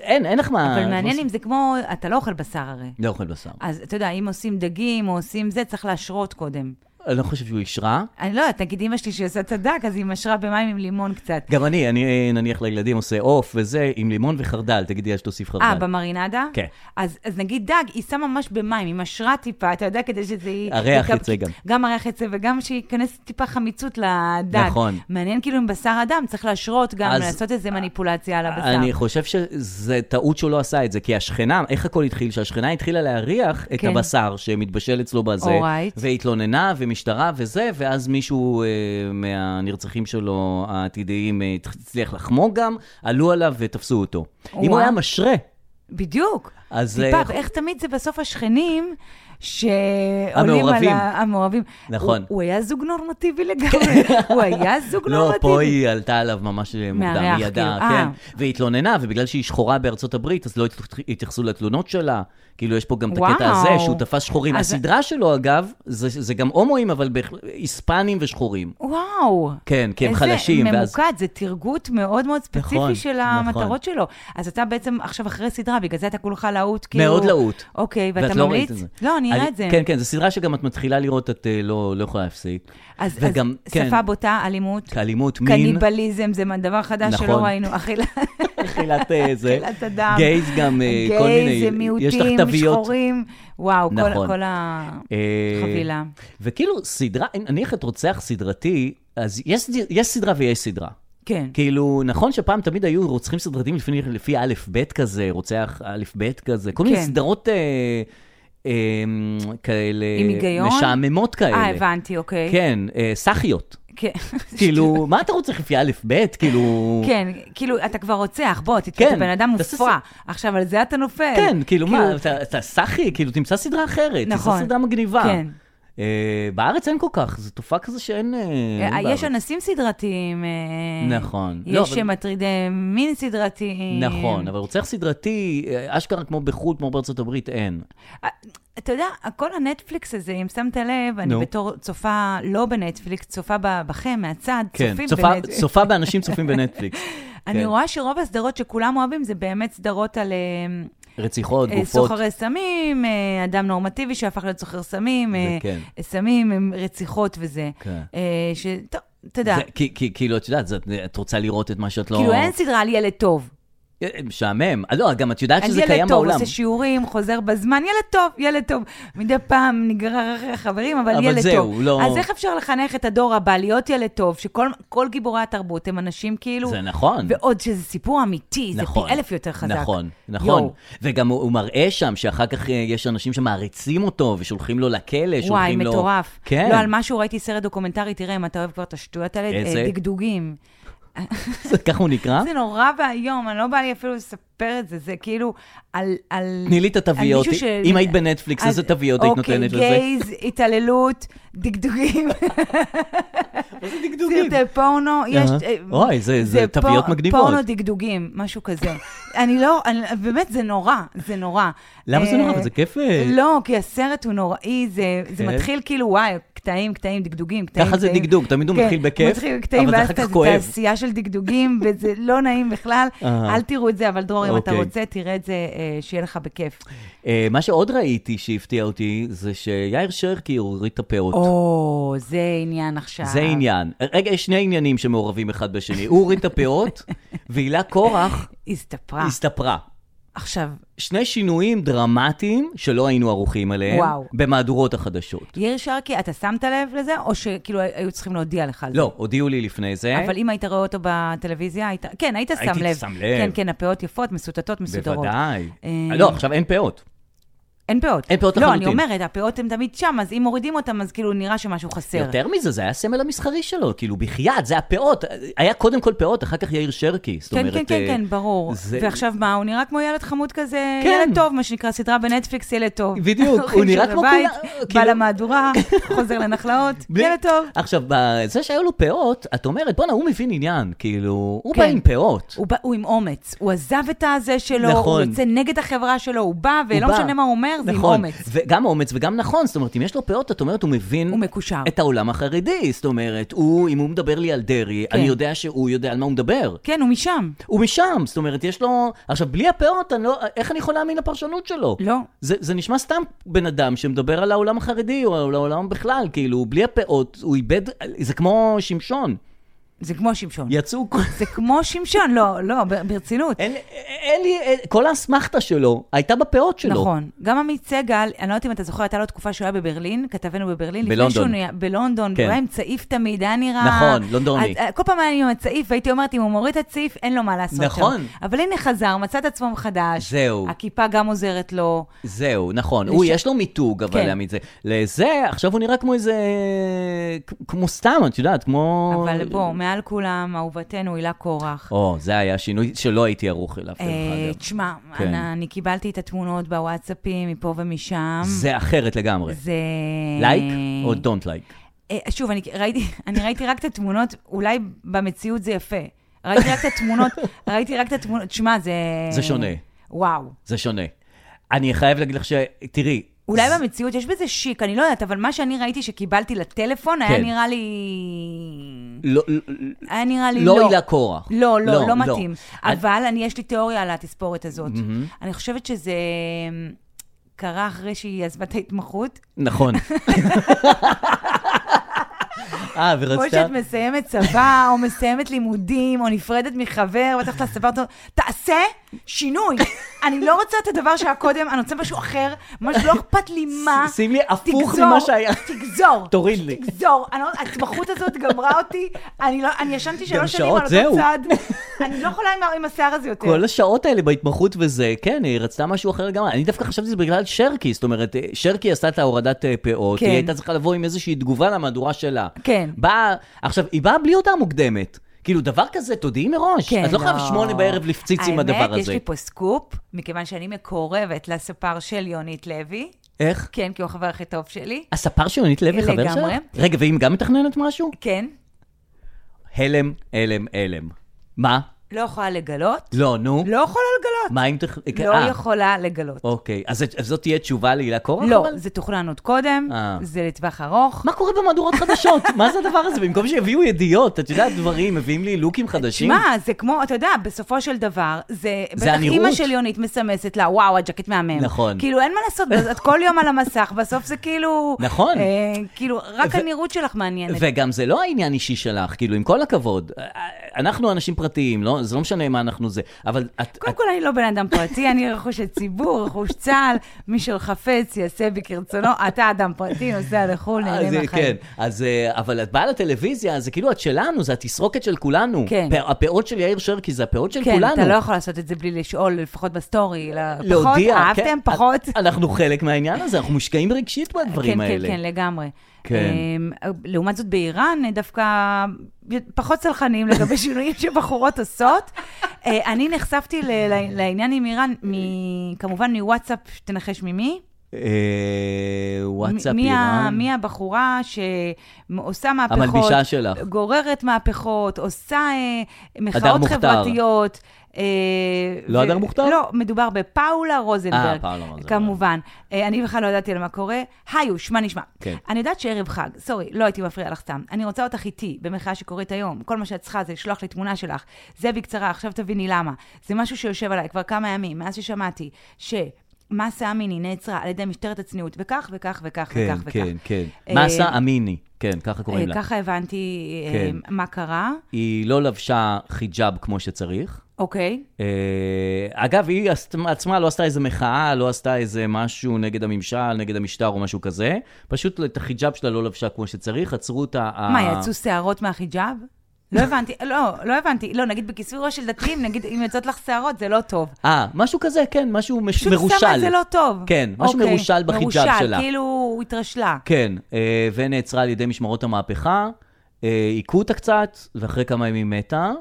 Speaker 2: אין, אין לך מה...
Speaker 3: אבל מעניין אם זה כמו, אתה לא אוכל בשר הרי.
Speaker 2: לא אוכל בשר.
Speaker 3: אז אתה יודע, אם עושים דגים או עושים זה, צריך להשרות קודם.
Speaker 2: אני לא חושב שהוא אישרה.
Speaker 3: אני לא יודעת, נגיד אימא שלי שעושה צדק, אז היא משרה במים עם לימון קצת.
Speaker 2: גם אני, אני אה, נניח לילדים עושה עוף וזה, עם לימון וחרדל, תגידי, אז תוסיף חרדל.
Speaker 3: אה, במרינדה?
Speaker 2: כן.
Speaker 3: אז, אז נגיד דג, היא שמה ממש במים, היא משרה טיפה, אתה יודע, כדי שזה... יהיה-
Speaker 2: הריח
Speaker 3: יקב-
Speaker 2: יצא גם.
Speaker 3: גם הריח יצא, וגם שייכנס טיפה חמיצות לדג.
Speaker 2: נכון.
Speaker 3: מעניין כאילו עם בשר אדם, צריך להשרות גם,
Speaker 2: אז-
Speaker 3: לעשות איזה מניפולציה על הבשר.
Speaker 2: אני חושב שזה טעות שהוא לא עשה את זה, כי השכנה, איך הכל התחיל? שהשכנה התחילה להריח את
Speaker 3: כן.
Speaker 2: הבשר שמתבשל אצלו בזה,
Speaker 3: Alright.
Speaker 2: והתלוננה, ומשטרה וזה, ואז מישהו אה, מהנרצחים שלו העתידיים אה, הצליח לחמוק גם, עלו עליו ותפסו אותו. אם הוא
Speaker 3: וואו.
Speaker 2: היה משרה,
Speaker 3: בדיוק.
Speaker 2: אז, אה,
Speaker 3: טיפה, איך תמיד זה בסוף השכנים שעולים על
Speaker 2: המעורבים.
Speaker 3: ה- המעורבים.
Speaker 2: נכון.
Speaker 3: הוא- הוא היה זוג נורמטיבי לגמרי. הוא היה זוג
Speaker 2: לא,
Speaker 3: נורמטיבי.
Speaker 2: פה היא עלתה עליו ממש מוקדם,
Speaker 3: מהריח,
Speaker 2: היא ידעה,
Speaker 3: כאילו, אה.
Speaker 2: כן. והיא התלוננה, ובגלל שהיא שחורה בארצות הברית, אז לא התח- התייחסו לתלונות שלה. כאילו, יש פה גם את הקטע
Speaker 3: וואו.
Speaker 2: הזה, שהוא תפס שחורים.
Speaker 3: אז-
Speaker 2: הסדרה שלו, אגב, זה זה גם הומואים, אבל בהחל- היספנים ושחורים.
Speaker 3: וואו.
Speaker 2: כן, כי הם חלשים,
Speaker 3: איזה
Speaker 2: ואז-
Speaker 3: ממוקד, זה תרגות מאוד מאוד ספציפי
Speaker 2: נכון,
Speaker 3: של
Speaker 2: נכון.
Speaker 3: המטרות שלו. אז אתה בעצם עכשיו אחרי סדרה, בגלל זה אתה כולך להוט, כאילו...
Speaker 2: מאוד להוט.
Speaker 3: אוקיי,
Speaker 2: ואת
Speaker 3: ואתה
Speaker 2: לא
Speaker 3: ממליץ?
Speaker 2: ראית את זה.
Speaker 3: לא, אני אראה
Speaker 2: אני-
Speaker 3: את זה.
Speaker 2: כן, כן, זו סדרה שגם את מתחילה לראות, את אה, לא לא יכולה להפסיק.
Speaker 3: אז,
Speaker 2: וגם,
Speaker 3: אז
Speaker 2: כן.
Speaker 3: שפה בוטה, אלימות,
Speaker 2: אלימות, מין,
Speaker 3: קניבליזם, זה דבר חדש
Speaker 2: נכון.
Speaker 3: שלא ראינו. אכילה,
Speaker 2: אכילת אה, זה.
Speaker 3: אכילת אדם.
Speaker 2: גייז גם, אה, כל מיני,
Speaker 3: גייז,
Speaker 2: יש לך
Speaker 3: מיעוטים,
Speaker 2: תוויות.
Speaker 3: שחורים. וואו, כל-
Speaker 2: נכון.
Speaker 3: כל ה...
Speaker 2: אה,
Speaker 3: חבילה.
Speaker 2: וכאילו, סדרה, נניח את רוצח סדרתי, אז יש, סד- יש סדרה ויש סדרה.
Speaker 3: כן.
Speaker 2: כאילו, נכון שפעם תמיד היו רוצחים סדרתיים לפני, לפי א', ב' כזה, רוצח א', ב' כזה, כל מיני
Speaker 3: כן.
Speaker 2: סדרות אה, אה, כאלה,
Speaker 3: עם היגיון?
Speaker 2: משעממות כאלה.
Speaker 3: אה, הבנתי, אוקיי.
Speaker 2: כן, אה, סאחיות.
Speaker 3: כן.
Speaker 2: כאילו, מה אתה רוצה לפי א', ב'? כאילו...
Speaker 3: כן, כאילו, אתה כבר רוצח, בוא, תתפוס
Speaker 2: כן,
Speaker 3: את הבן אדם
Speaker 2: תעשה
Speaker 3: מופרע. עכשיו, על זה אתה נופל.
Speaker 2: כן, כאילו, מה, אתה- אתה סאחי, כאילו, תמצא סדרה אחרת, תמצא
Speaker 3: נכון.
Speaker 2: סדרה מגניבה.
Speaker 3: כן.
Speaker 2: אה, בארץ אין כל כך, זו תופעה כזה שאין... אה, אין
Speaker 3: אה,
Speaker 2: בארץ.
Speaker 3: יש אנסים סדרתיים. אה,
Speaker 2: נכון. לא,
Speaker 3: יש
Speaker 2: אבל-
Speaker 3: מטרידי מין סדרתיים.
Speaker 2: נכון, אבל רוצח סדרתי, אה, אשכרה כמו בחו"ל, כמו בארצות הברית, אין.
Speaker 3: אה, אתה יודע, כל הנטפליקס הזה, אם שמת לב, אני
Speaker 2: נו.
Speaker 3: בתור צופה לא בנטפליקס, צופה ב- בכם, מהצד,
Speaker 2: כן,
Speaker 3: צופים
Speaker 2: צופה-
Speaker 3: בנטפליקס.
Speaker 2: צופה באנשים צופים בנטפליקס.
Speaker 3: אני
Speaker 2: כן.
Speaker 3: רואה שרוב הסדרות שכולם אוהבים זה באמת סדרות על אה,
Speaker 2: רציחות,
Speaker 3: אה,
Speaker 2: גופות.
Speaker 3: סוחרי סמים, אה, אדם נורמטיבי שהפך להיות סוחר סמים, אה,
Speaker 2: כן.
Speaker 3: סמים, הם רציחות וזה.
Speaker 2: כן.
Speaker 3: אה, ש... טוב, אתה יודע,
Speaker 2: זה- כי- כי- כאילו, את יודעת, זה- את רוצה לראות את מה שאת לא...
Speaker 3: כאילו אין סדרה על ילד טוב.
Speaker 2: אה, משעמם. אה, לא, גם את יודעת
Speaker 3: על
Speaker 2: שזה
Speaker 3: ילד
Speaker 2: קיים
Speaker 3: טוב,
Speaker 2: בעולם.
Speaker 3: עושה שיעורים, חוזר בזמן, ילד טוב, ילד טוב. מדי פעם נגרר אחרי חברים, אבל,
Speaker 2: אבל
Speaker 3: ילד
Speaker 2: זהו,
Speaker 3: טוב.
Speaker 2: לא-
Speaker 3: אז איך אפשר לחנך את הדור הבא להיות ילד טוב, שכל כל גיבורי התרבות הם אנשים כאילו...
Speaker 2: זה נכון.
Speaker 3: ועוד שזה סיפור אמיתי,
Speaker 2: נכון.
Speaker 3: זה פי אלף יותר חזק.
Speaker 2: נכון,
Speaker 3: יואו.
Speaker 2: נכון. וגם הוא הוא מראה שם שאחר כך אה, יש אנשים שמעריצים אותו ושולחים לו לכלא, שולחים לו...
Speaker 3: וואי, מטורף.
Speaker 2: כן.
Speaker 3: לא, על משהו ראיתי סרט דוקומנטרי, תראה, אם אתה אוהב כבר את השטויות האלה,
Speaker 2: איזה? אה?
Speaker 3: אה, דגדוגים.
Speaker 2: ככה הוא נקרא?
Speaker 3: זה נורא ואיום, אני לא באה לי אפילו לספר את זה, זה כאילו על... על-
Speaker 2: תני לי את התוויות.
Speaker 3: על מישהו ש-
Speaker 2: אם היית בנטפליקס,
Speaker 3: על-
Speaker 2: איזה תוויות היית נותנת לזה?
Speaker 3: אוקיי, גייז, התעללות, דגדוגים, סרטי פורנו, יש...
Speaker 2: אהה.
Speaker 3: אה,
Speaker 2: אוי, זה- זה תוויות
Speaker 3: פור-
Speaker 2: מגניבות.
Speaker 3: פורנו דגדוגים, משהו כזה. אני לא, אני- באמת, זה נורא, זה נורא.
Speaker 2: למה זה
Speaker 3: אה,
Speaker 2: נורא? אבל זה כיף. אה,
Speaker 3: לא, כי הסרט הוא נוראי, זה, זה
Speaker 2: כן.
Speaker 3: מתחיל כאילו, וואי, קטעים, קטעים, דגדוגים, קטעים,
Speaker 2: ככה זה
Speaker 3: קטעים.
Speaker 2: דגדוג, תמיד הוא
Speaker 3: כן,
Speaker 2: מתחיל בכיף,
Speaker 3: מתחיל קטעים,
Speaker 2: אבל זה
Speaker 3: ואז
Speaker 2: אחר כך
Speaker 3: אתה-
Speaker 2: כואב.
Speaker 3: תעשייה של דגדוגים, וזה לא נעים בכלל.
Speaker 2: אהה.
Speaker 3: אל תראו את זה, אבל דרור, אם אתה
Speaker 2: אוקיי.
Speaker 3: רוצה, תראה את זה, אה, שיהיה לך בכיף.
Speaker 2: אה, מה שעוד ראיתי שהפתיע אותי, זה שיאיר שרקי הוריד את הפאות.
Speaker 3: או, זה עניין עכשיו.
Speaker 2: זה עניין. רגע, יש שני עניינים שמעורבים אחד בשני. הוא הוריד את הפאות, והילה קורח
Speaker 3: הסתפרה.
Speaker 2: הסתפרה.
Speaker 3: עכשיו,
Speaker 2: שני שינויים דרמטיים שלא היינו ערוכים אליהם,
Speaker 3: וואו.
Speaker 2: במהדורות החדשות.
Speaker 3: יאיר שרקי, אתה שמת לב לזה, או שכאילו היו צריכים להודיע לך על זה?
Speaker 2: לא, הודיעו לי לפני זה.
Speaker 3: אבל אם היית רואה אותו בטלוויזיה, היית... כן, היית שם לב.
Speaker 2: הייתי שם לב.
Speaker 3: כן, כן, הפאות יפות, מסוטטות, מסודרות.
Speaker 2: בוודאי.
Speaker 3: אה,
Speaker 2: לא, עכשיו אין פאות.
Speaker 3: אין פאות.
Speaker 2: אין פאות
Speaker 3: לא, אני
Speaker 2: לחלוטין.
Speaker 3: אומרת, הפאות הן תמיד שם, אז אם מורידים אותם, אז כאילו נראה שמשהו חסר.
Speaker 2: יותר מזה, זה היה הסמל המסחרי שלו, כאילו, בחייאת, זה הפאות. היה קודם כל פאות, אחר כך יאיר שרקי. זאת
Speaker 3: כן,
Speaker 2: אומרת...
Speaker 3: כן, כן,
Speaker 2: אה,
Speaker 3: כן, ברור.
Speaker 2: זה-
Speaker 3: ועכשיו מה, הוא נראה כמו ילד חמוד כזה,
Speaker 2: כן.
Speaker 3: ילד טוב, מה שנקרא, סדרה בנטפליקס, ילד טוב.
Speaker 2: בדיוק,
Speaker 3: הולכים
Speaker 2: הוא נראה
Speaker 3: שם
Speaker 2: כמו
Speaker 3: לבית,
Speaker 2: כולם,
Speaker 3: בא
Speaker 2: כאילו-
Speaker 3: למהדורה, חוזר לנחלאות,
Speaker 2: בלי-
Speaker 3: ילד טוב.
Speaker 2: עכשיו, זה שהיו לו פאות, את אומרת, בואנה, הוא מבין עניין, כאילו, הוא
Speaker 3: כן.
Speaker 2: בא עם פאות.
Speaker 3: הוא בא- הוא עם אומץ, הוא עזב את הזה שלו, הוא
Speaker 2: נכון.
Speaker 3: יוצא נגד החברה שלו, הוא בא,
Speaker 2: הוא
Speaker 3: ולא
Speaker 2: בא.
Speaker 3: משנה מה הוא אומר, זה עם
Speaker 2: נכון.
Speaker 3: אומץ.
Speaker 2: וגם אומץ וגם נכון, זאת אומרת, אם יש לו פאות, את אומרת, הוא מבין...
Speaker 3: הוא מקושר.
Speaker 2: את העולם החרדי, זאת אומרת, הוא, אם הוא מדבר לי על דרעי,
Speaker 3: כן.
Speaker 2: אני יודע שהוא יודע על מה הוא מדבר.
Speaker 3: כן, הוא משם.
Speaker 2: הוא משם, זאת אומרת, יש לו... עכשיו, בלי הפאות, אני לא... איך אני יכול להאמין לפרשנות שלו?
Speaker 3: לא.
Speaker 2: זה, זה נשמע סתם בן אדם שמדבר על העולם החרדי או על העולם בכלל, כאילו, בלי הפאות, הוא איבד... זה כמו שמשון.
Speaker 3: זה כמו שמשון.
Speaker 2: יצאו... כל-
Speaker 3: זה כמו שמשון, לא, לא, ב- ברצינות.
Speaker 2: אין, אין לי, אין, כל האסמכתה שלו הייתה בפאות שלו.
Speaker 3: נכון. גם עמית סגל, אני לא יודעת אם אתה זוכר, הייתה לו תקופה שהוא היה בברלין, כתבנו בברלין. לפני
Speaker 2: בלונדון.
Speaker 3: שהוא נהיה- בלונדון,
Speaker 2: כן.
Speaker 3: הוא היה עם צעיף תמיד, היה נראה...
Speaker 2: נכון, לונדוני.
Speaker 3: אז, אה, כל פעם היה לי עם הצעיף, והייתי אומרת, אם הוא מוריד את הצעיף, אין לו מה לעשות
Speaker 2: נכון.
Speaker 3: שם. אבל הנה חזר, מצא את עצמו מחדש.
Speaker 2: זהו.
Speaker 3: הכיפה גם עוזרת לו.
Speaker 2: זהו, נכון. הוא, יש לו מיתוג, אבל
Speaker 3: כן.
Speaker 2: להעמיד זה. לזה, עכשיו הוא נראה כמו איזה... כ- כמו סתם, את יודעת, כמו...
Speaker 3: אבל בוא, מעל כולם, אהובתנו הילה קורח.
Speaker 2: או, זה היה שינוי שלא הייתי ערוך אליו, דרך
Speaker 3: אה,
Speaker 2: אגב.
Speaker 3: תשמע,
Speaker 2: כן.
Speaker 3: אני אני קיבלתי את התמונות בוואטסאפים מפה ומשם.
Speaker 2: זה אחרת לגמרי.
Speaker 3: זה...
Speaker 2: לייק או don't like?
Speaker 3: אה, שוב, אני ראיתי, אני ראיתי רק את התמונות, אולי במציאות זה יפה. ראיתי רק את התמונות, ראיתי רק את התמונות, תשמע, זה...
Speaker 2: זה שונה.
Speaker 3: וואו.
Speaker 2: זה שונה. אני חייב להגיד לך ש... תראי,
Speaker 3: אולי במציאות יש בזה שיק, אני לא יודעת, אבל מה שאני ראיתי שקיבלתי לטלפון היה
Speaker 2: כן.
Speaker 3: נראה לי...
Speaker 2: לא,
Speaker 3: היה נראה לי לא.
Speaker 2: לא הילה קורח.
Speaker 3: לא, לא, לא מתאים. אבל אני, יש לי תיאוריה על התספורת הזאת. אני חושבת שזה אמ, קרה אחרי שהיא עזבה את ההתמחות.
Speaker 2: נכון. אה, ורצתה...
Speaker 3: או שאת מסיימת צבא, או מסיימת לימודים, או נפרדת מחבר, ואת הולכת לספר אותו, תעשה שינוי. אני לא רוצה את הדבר שהיה קודם, אני רוצה משהו אחר, משהו לא אכפת לי מה.
Speaker 2: ש- שימי הפוך
Speaker 3: תגזור,
Speaker 2: ממה שהיה.
Speaker 3: תגזור.
Speaker 2: תוריד לי.
Speaker 3: תגזור. אני לא- ההתמחות הזאת גמרה אותי, אני לא, אני ישנתי
Speaker 2: גם
Speaker 3: שלוש שנים
Speaker 2: שעות,
Speaker 3: על
Speaker 2: זהו.
Speaker 3: אותו צד. אני לא יכולה עם ה- עם השיער הזה יותר.
Speaker 2: כל השעות האלה בהתמחות וזה, כן, היא רצתה משהו אחר לגמרי. אני דווקא חשבתי שזה בגלל שרקי, זאת אומרת, אה, שרקי עשתה את ההורדת אה, פאות,
Speaker 3: כן.
Speaker 2: היא הייתה צריכה לבוא עם איזושהי תגובה למהדורה שלה.
Speaker 3: כן.
Speaker 2: באה, עכשיו, היא באה בלי הודעה מוקדמת. כאילו, דבר כזה, תודיעי מראש. את לא חייבת שמונה בערב לפציץ עם הדבר
Speaker 3: כן, האמת, יש
Speaker 2: הזה.
Speaker 3: לי פה סקופ, מכיוון שאני מקורבת לספר של יונית לוי.
Speaker 2: איך?
Speaker 3: כן, כי הוא החבר הכי טוב שלי.
Speaker 2: הספר של יונית לוי חבר שלך?
Speaker 3: לגמרי.
Speaker 2: רגע, והיא גם מתכננת משהו?
Speaker 3: כן,
Speaker 2: הלם, הלם, הלם. מה?
Speaker 3: לא יכולה לגלות.
Speaker 2: לא, נו.
Speaker 3: לא יכולה לגלות.
Speaker 2: מה אם תכ...
Speaker 3: לא
Speaker 2: אה,
Speaker 3: יכולה לגלות.
Speaker 2: אוקיי. אז זאת- אז זאת תהיה תשובה להילה קורח?
Speaker 3: לא,
Speaker 2: אבל?
Speaker 3: זה תוכנן עוד קודם,
Speaker 2: אה.
Speaker 3: זה לטווח ארוך.
Speaker 2: מה קורה במהדורות חדשות? מה זה הדבר הזה? במקום שיביאו ידיעות, את יודעת דברים, מביאים לי לוקים חדשים.
Speaker 3: שמע, זה כמו, אתה יודע, בסופו של דבר, זה...
Speaker 2: זה
Speaker 3: בטח
Speaker 2: הנראות.
Speaker 3: אימא של יונית מסמסת לה, וואו, הג'קט מהמם.
Speaker 2: נכון.
Speaker 3: כאילו, אין מה לעשות, את כל יום על המסך, בסוף זה כאילו...
Speaker 2: נכון.
Speaker 3: אה, כאילו, רק
Speaker 2: ו-
Speaker 3: הנראות שלך מעניינת.
Speaker 2: וגם זה לא העניין אישי שלך, כאילו, עם כל הכבוד. אה, אה, אנחנו אנשים פרטיים, לא? זה לא משנה מה אנחנו זה. אבל את...
Speaker 3: קודם
Speaker 2: את-
Speaker 3: כל, אני לא בן אדם פרטי, אני רכוש הציבור, רכוש צה"ל, מי שחפץ יעשה בכרצונו. אתה אדם פרטי, נוסע לחו"ל,
Speaker 2: אז,
Speaker 3: נהנה
Speaker 2: אה, כן,
Speaker 3: מהחיים.
Speaker 2: אז, אה, אבל את באה לטלוויזיה, זה כאילו את שלנו, זה התסרוקת של כולנו.
Speaker 3: כן.
Speaker 2: פ- הפאות של יאיר שרקי זה הפאות של
Speaker 3: כן,
Speaker 2: כולנו.
Speaker 3: אתה לא יכול לעשות את זה בלי לשאול, לפחות בסטורי, אלא פחות,
Speaker 2: להודיע,
Speaker 3: אהבתם,
Speaker 2: כן,
Speaker 3: פחות.
Speaker 2: אנ- אנחנו חלק מהעניין הזה, אנחנו מושקעים רגשית בדברים
Speaker 3: כן,
Speaker 2: האלה.
Speaker 3: כן, כן, לגמרי.
Speaker 2: כן.
Speaker 3: אה, לעומת זאת, באיראן אה, דווקא פחות סלחניים לגבי שינויים שבחורות עושות. אה, אני נחשפתי ל- ל- לעניין עם איראן, מ- כמובן מוואטסאפ, תנחש ממי.
Speaker 2: אה, וואטסאפ
Speaker 3: מי ה-
Speaker 2: איראן.
Speaker 3: מי הבחורה שעושה מהפכות.
Speaker 2: המלבישה שלך.
Speaker 3: גוררת מהפכות, עושה אה,
Speaker 2: הדר
Speaker 3: מחאות
Speaker 2: מוכתר.
Speaker 3: חברתיות. אה,
Speaker 2: לא
Speaker 3: ו-
Speaker 2: הדר מוכתר?
Speaker 3: לא, מדובר בפאולה רוזנברג.
Speaker 2: אה, פאולה רוזנברג.
Speaker 3: כמובן. אה, אני בכלל לא ידעתי על מה קורה. היוש, מה נשמע?
Speaker 2: כן.
Speaker 3: אני יודעת שערב חג, סורי, לא הייתי מפריעה לך סתם. אני רוצה אותך איתי, במחאה שקורית היום. כל מה שאת צריכה זה לשלוח לי תמונה שלך. זה בקצרה, עכשיו תביני למה. זה משהו שיושב עליי כבר כמה ימים, מאז ששמעתי ש... מסה אמיני נעצרה על ידי משטרת הצניעות, וכך וכך וכך
Speaker 2: כן,
Speaker 3: וכך וכך.
Speaker 2: כן, כן.
Speaker 3: אה,
Speaker 2: מסה אמיני, כן, ככה
Speaker 3: אה,
Speaker 2: קוראים לה.
Speaker 3: ככה הבנתי אה,
Speaker 2: כן.
Speaker 3: מה קרה,
Speaker 2: היא לא לבשה חיג'אב כמו שצריך.
Speaker 3: אוקיי.
Speaker 2: אה, אגב, היא עשת- עצמה לא עשתה איזה מחאה, לא עשתה איזה משהו נגד הממשל, נגד המשטר או משהו כזה. פשוט את החיג'אב שלה לא לבשה כמו שצריך, עצרו את ה...
Speaker 3: מה, יצאו שערות מהחיג'אב? לא הבנתי, לא, לא הבנתי. לא, נגיד בכיסוי ראש של דתיים, נגיד אם יוצאות לך שערות, זה לא טוב.
Speaker 2: אה, משהו כזה, כן, משהו מש-
Speaker 3: פשוט
Speaker 2: מרושל.
Speaker 3: שמה את זה לא טוב.
Speaker 2: כן, משהו
Speaker 3: אוקיי,
Speaker 2: מרושל בחיג'אב שלה.
Speaker 3: מרושל, כאילו הוא התרשלה.
Speaker 2: כן, אה, ונעצרה על ידי משמרות המהפכה, אה, הכו אותה קצת, ואחרי כמה ימים מתה.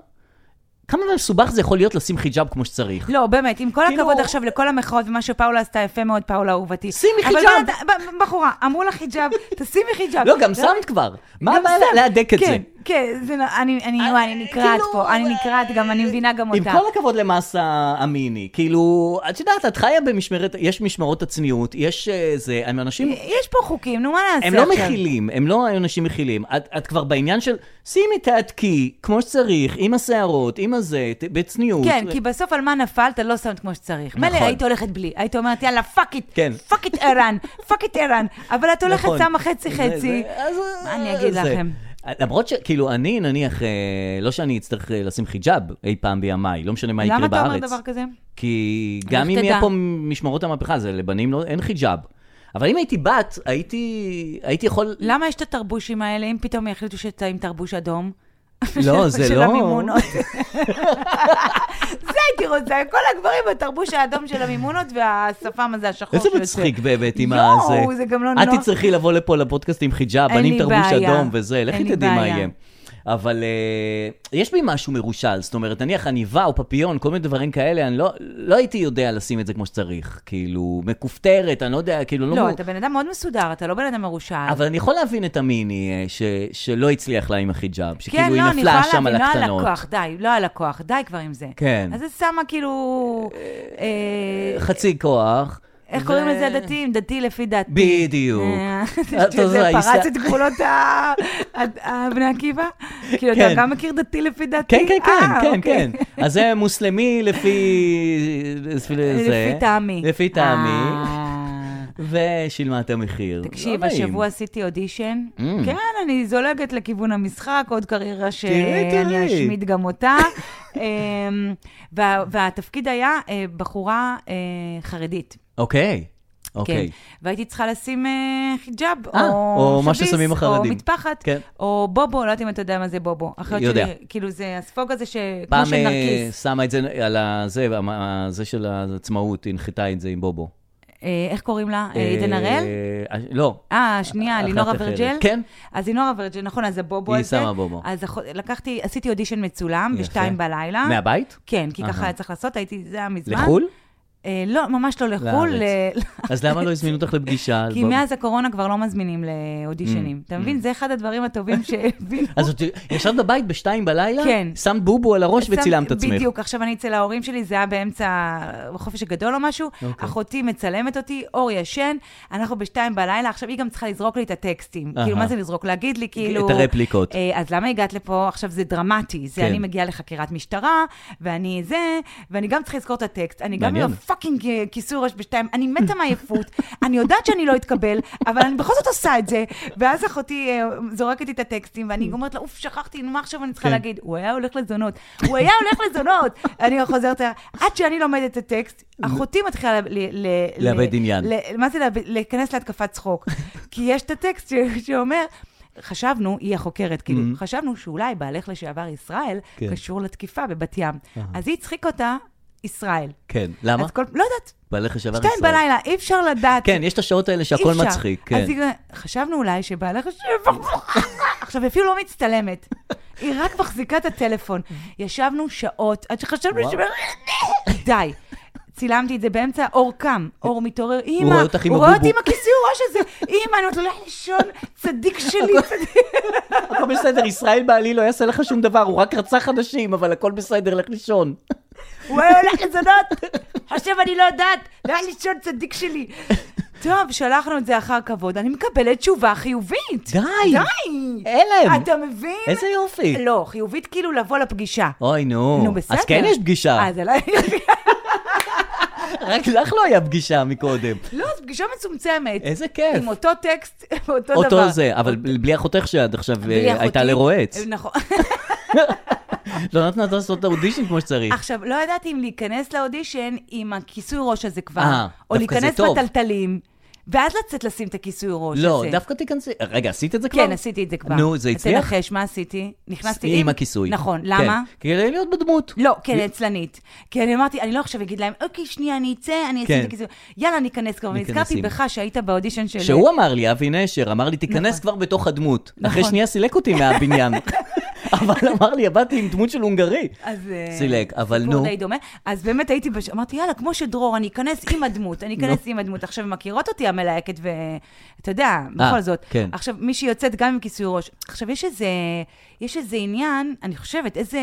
Speaker 2: כמה מסובך זה יכול להיות לשים חיג'אב כמו שצריך?
Speaker 3: לא, באמת, עם כל
Speaker 2: כאילו-
Speaker 3: הכבוד עכשיו לכל המחאות ומה שפאולה עשתה, יפה מאוד, פאולה אהובתי.
Speaker 2: שימי
Speaker 3: אבל
Speaker 2: חיג'אב.
Speaker 3: בן אדם- ב- ב- בחורה, אמרו לה חיג'אב, תשימי חיג'אב.
Speaker 2: לא, גם שמת כבר. מה
Speaker 3: גם
Speaker 2: הבעיה
Speaker 3: סתם.
Speaker 2: להדק את זה?
Speaker 3: כן, כן, זה נ- אני, אני, וואי, אני נקרעת
Speaker 2: כאילו,
Speaker 3: פה, אני נקרעת גם, אני מבינה גם
Speaker 2: עם
Speaker 3: אותה.
Speaker 2: כל הכבוד למסה אמיני, כאילו, את יודעת, את חיה במשמרת, יש משמרות הצניעות, יש אה, זה, הם אנשים,
Speaker 3: יש פה חוקים, נו, מה נעשה
Speaker 2: הם
Speaker 3: עכשיו?
Speaker 2: לא מכילים, הם לא אנשים מכילים. את, את כבר בעניין של, שימי תעתקי, כמו שצריך, עם השערות, עם הזה, ת- בצניעות.
Speaker 3: כן, כי בסוף על מה נפלת, לא שמת כמו שצריך. מילא
Speaker 2: נכון.
Speaker 3: היית הולכת בלי, היית אומרת, יאללה, פאק איט,
Speaker 2: כן.
Speaker 3: פאק איט ערן, פאק איט ערן, אבל את הולכת
Speaker 2: נכון.
Speaker 3: שמה חצי
Speaker 2: זה-
Speaker 3: חצי.
Speaker 2: זה- אז- אה,
Speaker 3: מה אני אגיד
Speaker 2: זה.
Speaker 3: לכם?
Speaker 2: למרות שכאילו אני נניח, אה, לא שאני אצטרך אה, לשים חיג'אב אי פעם בימיי, לא משנה מה
Speaker 3: למה
Speaker 2: יקרה
Speaker 3: אתה אומר
Speaker 2: בארץ.
Speaker 3: דבר כזה?
Speaker 2: כי גם
Speaker 3: לך
Speaker 2: אם
Speaker 3: תדע.
Speaker 2: יהיה פה משמרות המהפכה, זה לבנים לא, אין חיג'אב. אבל אם הייתי בת, הייתי, הייתי יכול...
Speaker 3: למה יש את התרבושים האלה, אם פתאום יחליטו שאתה עם תרבוש אדום?
Speaker 2: לא, זה
Speaker 3: של
Speaker 2: לא-
Speaker 3: המימונות. זה הייתי רוצה, כל הגברים בתרבוש האדום של המימונות והשפם הזה, השחור
Speaker 2: איזה
Speaker 3: שיוצא.
Speaker 2: מצחיק באמת עם הזה.
Speaker 3: יואו, זה גם לא
Speaker 2: את
Speaker 3: נוח.
Speaker 2: תצטרכי לבוא לפה לפודקאסט עם חיג'אב,
Speaker 3: אין
Speaker 2: בנים
Speaker 3: לי
Speaker 2: תרבוש
Speaker 3: בעיה.
Speaker 2: אדום וזה,
Speaker 3: אין
Speaker 2: לכי
Speaker 3: לי
Speaker 2: תדעי מה
Speaker 3: בעיה.
Speaker 2: יהיה. אבל אה, יש בי משהו מרושל, זאת אומרת, נניח עניבה או פפיון, כל מיני דברים כאלה, אני לא, לא הייתי יודע לשים את זה כמו שצריך. כאילו, מכופתרת, אני לא יודע, כאילו, לא...
Speaker 3: לא,
Speaker 2: מ-
Speaker 3: אתה בן אדם מאוד מסודר, אתה לא בן אדם מרושל.
Speaker 2: אבל אני יכול להבין את המיני אה, ש, שלא הצליח לה עם החיג'אב, שכאילו
Speaker 3: כן,
Speaker 2: כאילו היא
Speaker 3: לא, אני יכולה
Speaker 2: נפלה שם על
Speaker 3: להבין,
Speaker 2: הקטנות.
Speaker 3: לא הלקוח, די, לא הלקוח, די כבר עם זה.
Speaker 2: כן.
Speaker 3: אז זה שמה כאילו, אה,
Speaker 2: חצי כוח.
Speaker 3: איך
Speaker 2: ו-
Speaker 3: קוראים לזה דתיים? דתי לפי דעתי.
Speaker 2: בדיוק.
Speaker 3: אה,
Speaker 2: אתה
Speaker 3: שזה
Speaker 2: יודע,
Speaker 3: פרץ
Speaker 2: אישה-
Speaker 3: את גבולות ה- ה- ה- בני עקיבא? כאילו, אתה
Speaker 2: כן.
Speaker 3: גם מכיר דתי לפי דעתי?
Speaker 2: כן, כן, כן,
Speaker 3: אה,
Speaker 2: כן,
Speaker 3: אוקיי.
Speaker 2: כן. אז זה מוסלמי לפי... לפי זה.
Speaker 3: לפי טעמי.
Speaker 2: לפי טעמי.
Speaker 3: אה.
Speaker 2: ושילמה את המחיר.
Speaker 3: תקשיב,
Speaker 2: לא נעים.
Speaker 3: השבוע עשיתי אודישן.
Speaker 2: Mm.
Speaker 3: כן, אני זולגת לכיוון המשחק, עוד קריירה
Speaker 2: תראי, תראי.
Speaker 3: שאני אשמיד גם אותה. אמ, וה- והתפקיד היה אה, בחורה אה, חרדית.
Speaker 2: אוקיי,
Speaker 3: כן.
Speaker 2: אוקיי.
Speaker 3: והייתי צריכה לשים אה, חיג'אב,
Speaker 2: אה, או מה
Speaker 3: שביס,
Speaker 2: ששמים החרדים.
Speaker 3: או מטפחת,
Speaker 2: כן.
Speaker 3: או בובו, לא יודעת אם אתה יודע מה זה בובו. אחיות
Speaker 2: יודע.
Speaker 3: שלי, כאילו זה הספוג הזה, ש- כמו
Speaker 2: פעם
Speaker 3: של
Speaker 2: אה,
Speaker 3: נרקיס.
Speaker 2: שמה את זה על הזה, זה של העצמאות, הנחתה את זה עם בובו.
Speaker 3: אה, איך קוראים לה? אה,
Speaker 2: אה,
Speaker 3: עידן הראל?
Speaker 2: אה, לא.
Speaker 3: אה, שנייה,
Speaker 2: אחת
Speaker 3: לינורה
Speaker 2: אחרת.
Speaker 3: ורג'ל?
Speaker 2: כן.
Speaker 3: אז לינורה ורג'ל, נכון, אז הבובו
Speaker 2: היא
Speaker 3: הזה.
Speaker 2: שמה בובו.
Speaker 3: אז אח- לקחתי, עשיתי אודישן מצולם
Speaker 2: יפה.
Speaker 3: בשתיים בלילה.
Speaker 2: מהבית?
Speaker 3: כן, כי
Speaker 2: אהה.
Speaker 3: ככה היה צריך לעשות, הייתי, זה היה מזמן.
Speaker 2: לחו"ל?
Speaker 3: אה, לא, ממש לא לחו"ל.
Speaker 2: לארץ.
Speaker 3: ל-
Speaker 2: אז למה לא הזמינו אותך לפגישה? על
Speaker 3: כי
Speaker 2: בובו?
Speaker 3: מאז הקורונה כבר לא מזמינים
Speaker 2: Mm,
Speaker 3: לאודישנים. אתה מבין? זה אחד הדברים הטובים שהבינו.
Speaker 2: אז את ישבת בבית בשתיים בלילה?
Speaker 3: כן.
Speaker 2: שמת בובו על הראש וצילמת את עצמך.
Speaker 3: בדיוק, עכשיו אני אצל ההורים שלי, זה היה באמצע החופש הגדול או משהו.
Speaker 2: אוקיי.
Speaker 3: אחותי מצלמת אותי, אור ישן, אנחנו בשתיים בלילה, עכשיו היא גם צריכה לזרוק לי את הטקסטים.
Speaker 2: אהה.
Speaker 3: כאילו, מה זה לזרוק? להגיד לי, כאילו...
Speaker 2: את הרפליקות.
Speaker 3: אה, אז למה הגעת לפה? עכשיו זה דרמטי. זה
Speaker 2: כן.
Speaker 3: אני מגיעה לחקירת משטרה, ואני זה, ואני גם צריכה לזכור את הטקסט. אני גם
Speaker 2: מעניין.
Speaker 3: עם הפאקינג אה, כיסוי ראש בשתיים, אני מתה מעייפות, אני יודעת שאני לא אתקבל, אבל אני בכל זאת עושה את זה. ואז אחותי אה, זורקת לי את הטקסטים, ואני אומרת לה, אוף, שכחתי, נו, מה עכשיו אני צריכה
Speaker 2: Mm. כן.
Speaker 3: להגיד? הוא היה הולך לזונות, הוא היה הולך לזונות. אני חוזרת, אליה, עד שאני לומדת את הטקסט, אחותי מתחילה ל- ל-
Speaker 2: לאבד
Speaker 3: ל-
Speaker 2: עניין.
Speaker 3: ל- מה זה לאבד- להיכנס להתקפת צחוק? כי יש את הטקסט ש- שאומר... חשבנו, היא החוקרת, כאילו, חשבנו שאולי בעלך לשעבר ישראל
Speaker 2: Mm-hmm. כן.
Speaker 3: קשור לתקיפה בבת ים. אז היא הצחיק אותה ישראל.
Speaker 2: כן. למה?
Speaker 3: אז כל... לא יודעת,
Speaker 2: בעלך לשעבר ישראל.
Speaker 3: שתיים בלילה, אי אפשר לדעת.
Speaker 2: כן, יש את השעות האלה שהכל
Speaker 3: אי אפשר.
Speaker 2: מצחיק. כן.
Speaker 3: אז היא... חשבנו אולי שבעלך לשעבר... עכשיו, היא אפילו לא מצטלמת. היא רק מחזיקה את הטלפון. ישבנו שעות עד שחשבנו
Speaker 2: וואו.
Speaker 3: ש... די. צילמתי את זה באמצע, אור קם, אור מתעורר, אימא,
Speaker 2: רואה אותך עם
Speaker 3: רואה אותי
Speaker 2: הבובו."
Speaker 3: עם הכיסוי ראש הזה, אימא, אני אומרת לו, לך לישון, צדיק שלי, צדיק.
Speaker 2: הכל בסדר, ישראל בעלי לא יעשה לך שום דבר, הוא רק רצח אנשים, אבל הכל בסדר, לך לישון.
Speaker 3: הוא היה הולך לזונות, עכשיו אני לא יודעת, לך לישון, צדיק שלי. טוב, שלחנו את זה אחר כבוד, אני מקבלת תשובה חיובית.
Speaker 2: די!
Speaker 3: די!
Speaker 2: הלם!
Speaker 3: אתה מבין?
Speaker 2: איזה יופי.
Speaker 3: לא, חיובית כאילו לבוא לפגישה.
Speaker 2: אוי, נו.
Speaker 3: נו, בסדר.
Speaker 2: אז כן יש פגישה,
Speaker 3: אה, זה לא...
Speaker 2: רק לך לא היה פגישה מקודם.
Speaker 3: לא, זו פגישה מצומצמת.
Speaker 2: איזה כיף.
Speaker 3: עם אותו טקסט, אותו דבר.
Speaker 2: אותו זה, אבל בלי אחותך שעד עכשיו
Speaker 3: בלי
Speaker 2: אה,
Speaker 3: אחותי.
Speaker 2: הייתה לרועץ.
Speaker 3: נכון.
Speaker 2: לא נתנה לעשות את האודישן כמו שצריך.
Speaker 3: עכשיו, לא ידעתי אם להיכנס לאודישן עם הכיסוי ראש הזה כבר,
Speaker 2: אה,
Speaker 3: או
Speaker 2: דווקא זה
Speaker 3: להיכנס
Speaker 2: טוב.
Speaker 3: בטלטלים, ואז לצאת לשים את הכיסוי ראש הזה.
Speaker 2: לא, דווקא תיכנסי... רגע, עשית את זה כבר?
Speaker 3: כן, עשיתי את זה כבר.
Speaker 2: נו, זה הצליח?
Speaker 3: תנחש, מה עשיתי? נכנסתי
Speaker 2: עם הכיסוי.
Speaker 3: נכון, למה?
Speaker 2: כן, כדי להיות בדמות.
Speaker 3: לא, כי אני עצלנית. כי אני אמרתי, אני לא עכשיו אגיד להם, אוקיי, שנייה, אני אצא, אני אעשה
Speaker 2: כן.
Speaker 3: את הכיסוי. יאללה, ניכנס כבר.
Speaker 2: ניכנס
Speaker 3: ונזכרתי
Speaker 2: עם.
Speaker 3: בך שהיית באודישן של...
Speaker 2: שהוא אמר לי, אבי נשר, אמר לי, תיכנס
Speaker 3: נכון.
Speaker 2: כבר בתוך הדמות. אחרי
Speaker 3: נכון.
Speaker 2: שנייה סילק אותי מהבניין. אבל אמר לי, באתי עם דמות של הונגרי.
Speaker 3: אז... אה,
Speaker 2: סילק, אבל נו.
Speaker 3: סיפור די דומה. אז באמת הייתי, בש... אמרתי, יאללה, כמו שדרור, אני אכנס עם הדמות, אני אכנס עם הדמות. עכשיו, הן מכירות אותי המלהקת, ואתה יודע, בכל זאת.
Speaker 2: כן.
Speaker 3: עכשיו, מי שיוצאת גם עם כיסוי ראש. עכשיו, יש איזה, יש איזה עניין, אני חושבת, איזה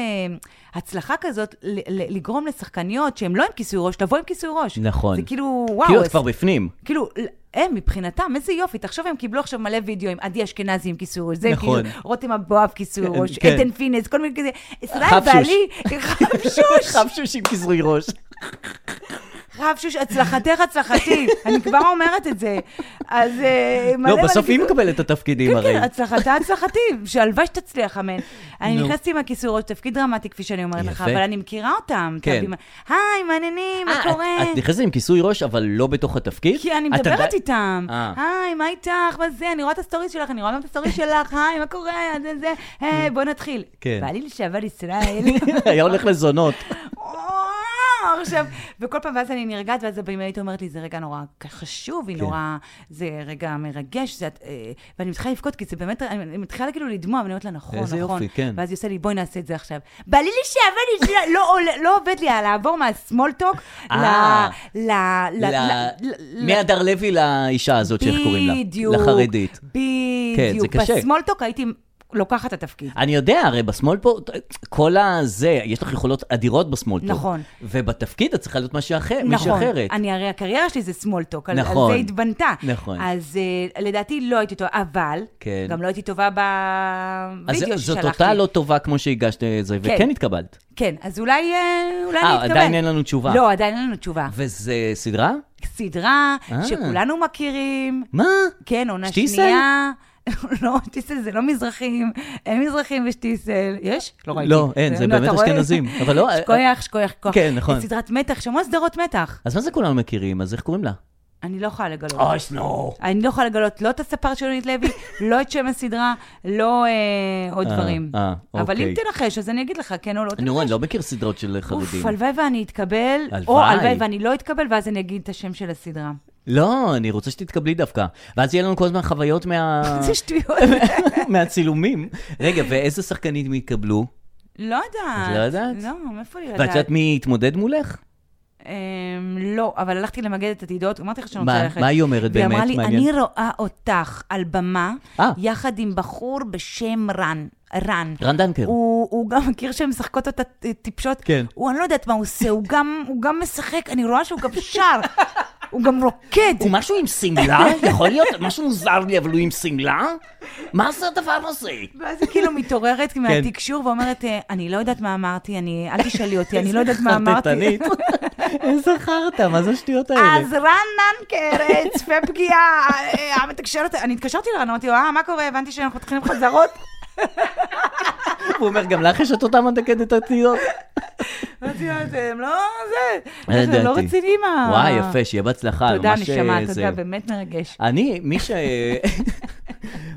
Speaker 3: הצלחה כזאת, ל- ל- לגרום לשחקניות שהן לא עם כיסוי ראש, לבוא עם כיסוי ראש.
Speaker 2: נכון.
Speaker 3: זה כאילו, וואו.
Speaker 2: כאילו את
Speaker 3: אז-
Speaker 2: כבר בפנים.
Speaker 3: כאילו, ל- הם מבחינתם, איזה יופי. תחשוב, הם קיבלו עכשיו מלא וידאוים. עדי אשכנזי עם כיסוי ראש, זה
Speaker 2: נכון.
Speaker 3: כאילו, רותם אבואב כיסוי
Speaker 2: כן,
Speaker 3: ראש,
Speaker 2: כן.
Speaker 3: איתן פינס, כל מיני כזה. ישראל
Speaker 2: חפשוש.
Speaker 3: בעלי, חפשוש,
Speaker 2: חפשוש עם כיסוי ראש.
Speaker 3: חפשוש, הצלחתך, הצלחתי. אני כבר אומרת את זה. אז אה, מלא
Speaker 2: לא,
Speaker 3: מלא
Speaker 2: בסוף היא
Speaker 3: כיסוי-
Speaker 2: מקבלת את התפקידים
Speaker 3: כן,
Speaker 2: הרי.
Speaker 3: כן, הצלחתה, הצלחתי, שהלוואי שתצליח, אמן. אני
Speaker 2: נו.
Speaker 3: נכנסתי עם הכיסוי ראש, תפקיד דרמטי, כפי שאני אומרת לך,
Speaker 2: יפה.
Speaker 3: אבל אני מכירה אותם.
Speaker 2: כן.
Speaker 3: תבין מה- היי, מעניינים, מה
Speaker 2: אה, את-
Speaker 3: קורה?
Speaker 2: את נכנסת עם כיסוי ראש, אבל לא בתוך התפקיד?
Speaker 3: כי אני
Speaker 2: את
Speaker 3: מדברת
Speaker 2: עדיין-
Speaker 3: איתם.
Speaker 2: אה.
Speaker 3: היי, מה איתך? מה זה? אני רואה את הסטוריז שלך, אני רואה גם את הסטוריז שלך, היי, מה קורה? זה זה. היי, בוא נתחיל.
Speaker 2: כן.
Speaker 3: בעלי לשעבר ישראל.
Speaker 2: היה הולך לזונות.
Speaker 3: אוי, לא, עכשיו... וכל פעם, ואז אני נרגעת, ואז הבמאית אומרת לי, זה רגע נורא חשוב, היא
Speaker 2: כן.
Speaker 3: נורא... זה רגע מרגש, זה... את- אה, ואני מתחילה לבכות, כי זה באמת... אני אני מתחילה כאילו לדמוע, ואני אומרת לה, נכון,
Speaker 2: איזה
Speaker 3: נכון.
Speaker 2: יופי, כן.
Speaker 3: ואז היא עושה לי, בואי נעשה את זה עכשיו. בא לי לשעבד, לא, לא, עולה- לא עובד לי, לעבור מהסמולטוק ל...
Speaker 2: אה.
Speaker 3: ל... ל...
Speaker 2: ל-
Speaker 3: ל-
Speaker 2: מהדר לוי לאישה הזאת, שאיך קוראים לה?
Speaker 3: בדיוק.
Speaker 2: לחרדית.
Speaker 3: בדיוק.
Speaker 2: כן, זה קשה. אה,
Speaker 3: בסמולטוק הייתי לוקחת את התפקיד.
Speaker 2: אני יודע, הרי בשמאל פה, כל הזה, יש לך יכולות אדירות בשמאל פה.
Speaker 3: נכון.
Speaker 2: ובתפקיד את צריכה להיות משהו אחר, מישהי אחרת.
Speaker 3: אני הרי הקריירה שלי זה סמולטוק, על,
Speaker 2: נכון.
Speaker 3: על זה התבנתה.
Speaker 2: נכון.
Speaker 3: אז אה, לדעתי לא הייתי טובה, אבל
Speaker 2: כן.
Speaker 3: גם לא הייתי טובה
Speaker 2: אז
Speaker 3: בווידאו
Speaker 2: זאת
Speaker 3: ששלחתי.
Speaker 2: אותה לא טובה כמו שהגשת את זה, וכן התקבלת.
Speaker 3: כן, אז אולי, אה, אולי
Speaker 2: אה,
Speaker 3: אני אתקבל.
Speaker 2: עדיין אין לנו תשובה.
Speaker 3: לא, עדיין אין לנו תשובה.
Speaker 2: וזה סדרה?
Speaker 3: סדרה
Speaker 2: אה.
Speaker 3: שכולנו מכירים,
Speaker 2: מה?
Speaker 3: כן, עונה
Speaker 2: שטיסל?
Speaker 3: שנייה. לא, שטיסל זה לא מזרחים, אין מזרחים בשטיסל. יש? לא ראיתי.
Speaker 2: לא, אין, זה
Speaker 3: נו,
Speaker 2: באמת
Speaker 3: אתה רואה?
Speaker 2: אשכנזים. אבל לא...
Speaker 3: שכוייח, שכוייח, כוח.
Speaker 2: כן, נכון.
Speaker 3: סדרת מתח, יש המון סדרות מתח.
Speaker 2: אז מה זה כולנו מכירים? אז איך קוראים לה?
Speaker 3: אני לא יכולה לגלות.
Speaker 2: אוי, נו.
Speaker 3: אני לא יכולה לגלות לא את הספר של יונית לוי, לא את שם הסדרה, לא אה, עוד
Speaker 2: אה,
Speaker 3: דברים.
Speaker 2: אה,
Speaker 3: אבל אם
Speaker 2: אוקיי.
Speaker 3: תנחש, אז אני אגיד לך, כן או לא.
Speaker 2: נו, אני לא מכיר סדרות של חרדים.
Speaker 3: אוף, הלוואי ואני אתקבל, או
Speaker 2: הלוואי.
Speaker 3: הלוואי ואני לא אתקבל, ואז אני אגיד את השם של הסדרה.
Speaker 2: לא, אני רוצה שתתקבלי דווקא. ואז יהיה לנו כל הזמן חוויות מה...
Speaker 3: זה שטויות.
Speaker 2: מהצילומים. רגע, ואיזה שחקנים התקבלו?
Speaker 3: לא יודעת.
Speaker 2: את לא יודעת?
Speaker 3: לא, מאיפה לי
Speaker 2: ואת יודעת
Speaker 3: לדעת?
Speaker 2: מי התמודד מולך?
Speaker 3: אמ, לא, אבל הלכתי למגד את עתידות, אמרתי לך שאני
Speaker 2: מה-
Speaker 3: רוצה ללכת.
Speaker 2: מה היא אומרת באמת?
Speaker 3: והיא אמרה לי,
Speaker 2: מעניין.
Speaker 3: אני רואה אותך על במה,
Speaker 2: אה.
Speaker 3: יחד עם בחור בשם רן. רן.
Speaker 2: רן דנקר.
Speaker 3: הוא, הוא גם מכיר שהן משחקות אותה אה, טיפשות.
Speaker 2: כן.
Speaker 3: הוא, אני לא יודעת מה הוא עושה, הוא גם, הוא גם משחק, אני רואה שהוא גם שר, הוא גם רוקד.
Speaker 2: הוא משהו עם שמלה? יכול להיות? משהו מוזר לי, אבל הוא עם שמלה? מה זה הדבר הזה?
Speaker 3: ואז היא כאילו
Speaker 2: כן.
Speaker 3: מתעוררת מהתקשור ואומרת, אה, אני לא יודעת מה אמרתי, אני, אל תשאלי אותי, אני לא יודעת מה אמרתי.
Speaker 2: חרטטנית. איזה חרטא, מה זה השטויות האלה?
Speaker 3: אז רן ננקר, צפה פגיעה, אה, המתקשרת, אני התקשרתי לרן, אמרתי לו, אה, מה קורה, הבנתי שאנחנו מתחילים חזרות.
Speaker 2: הוא אומר, גם לך יש את אותם הדקדת עתידות?
Speaker 3: אמרתי לו, אתם לא, זה, אתם לא
Speaker 2: אה, ידעתי.
Speaker 3: רציניים. ה-
Speaker 2: וואי, יפה, שיהיה בהצלחה.
Speaker 3: תודה,
Speaker 2: ממש,
Speaker 3: נשמה,
Speaker 2: אה,
Speaker 3: תודה,
Speaker 2: זה-
Speaker 3: באמת מרגש.
Speaker 2: אני, מי ש...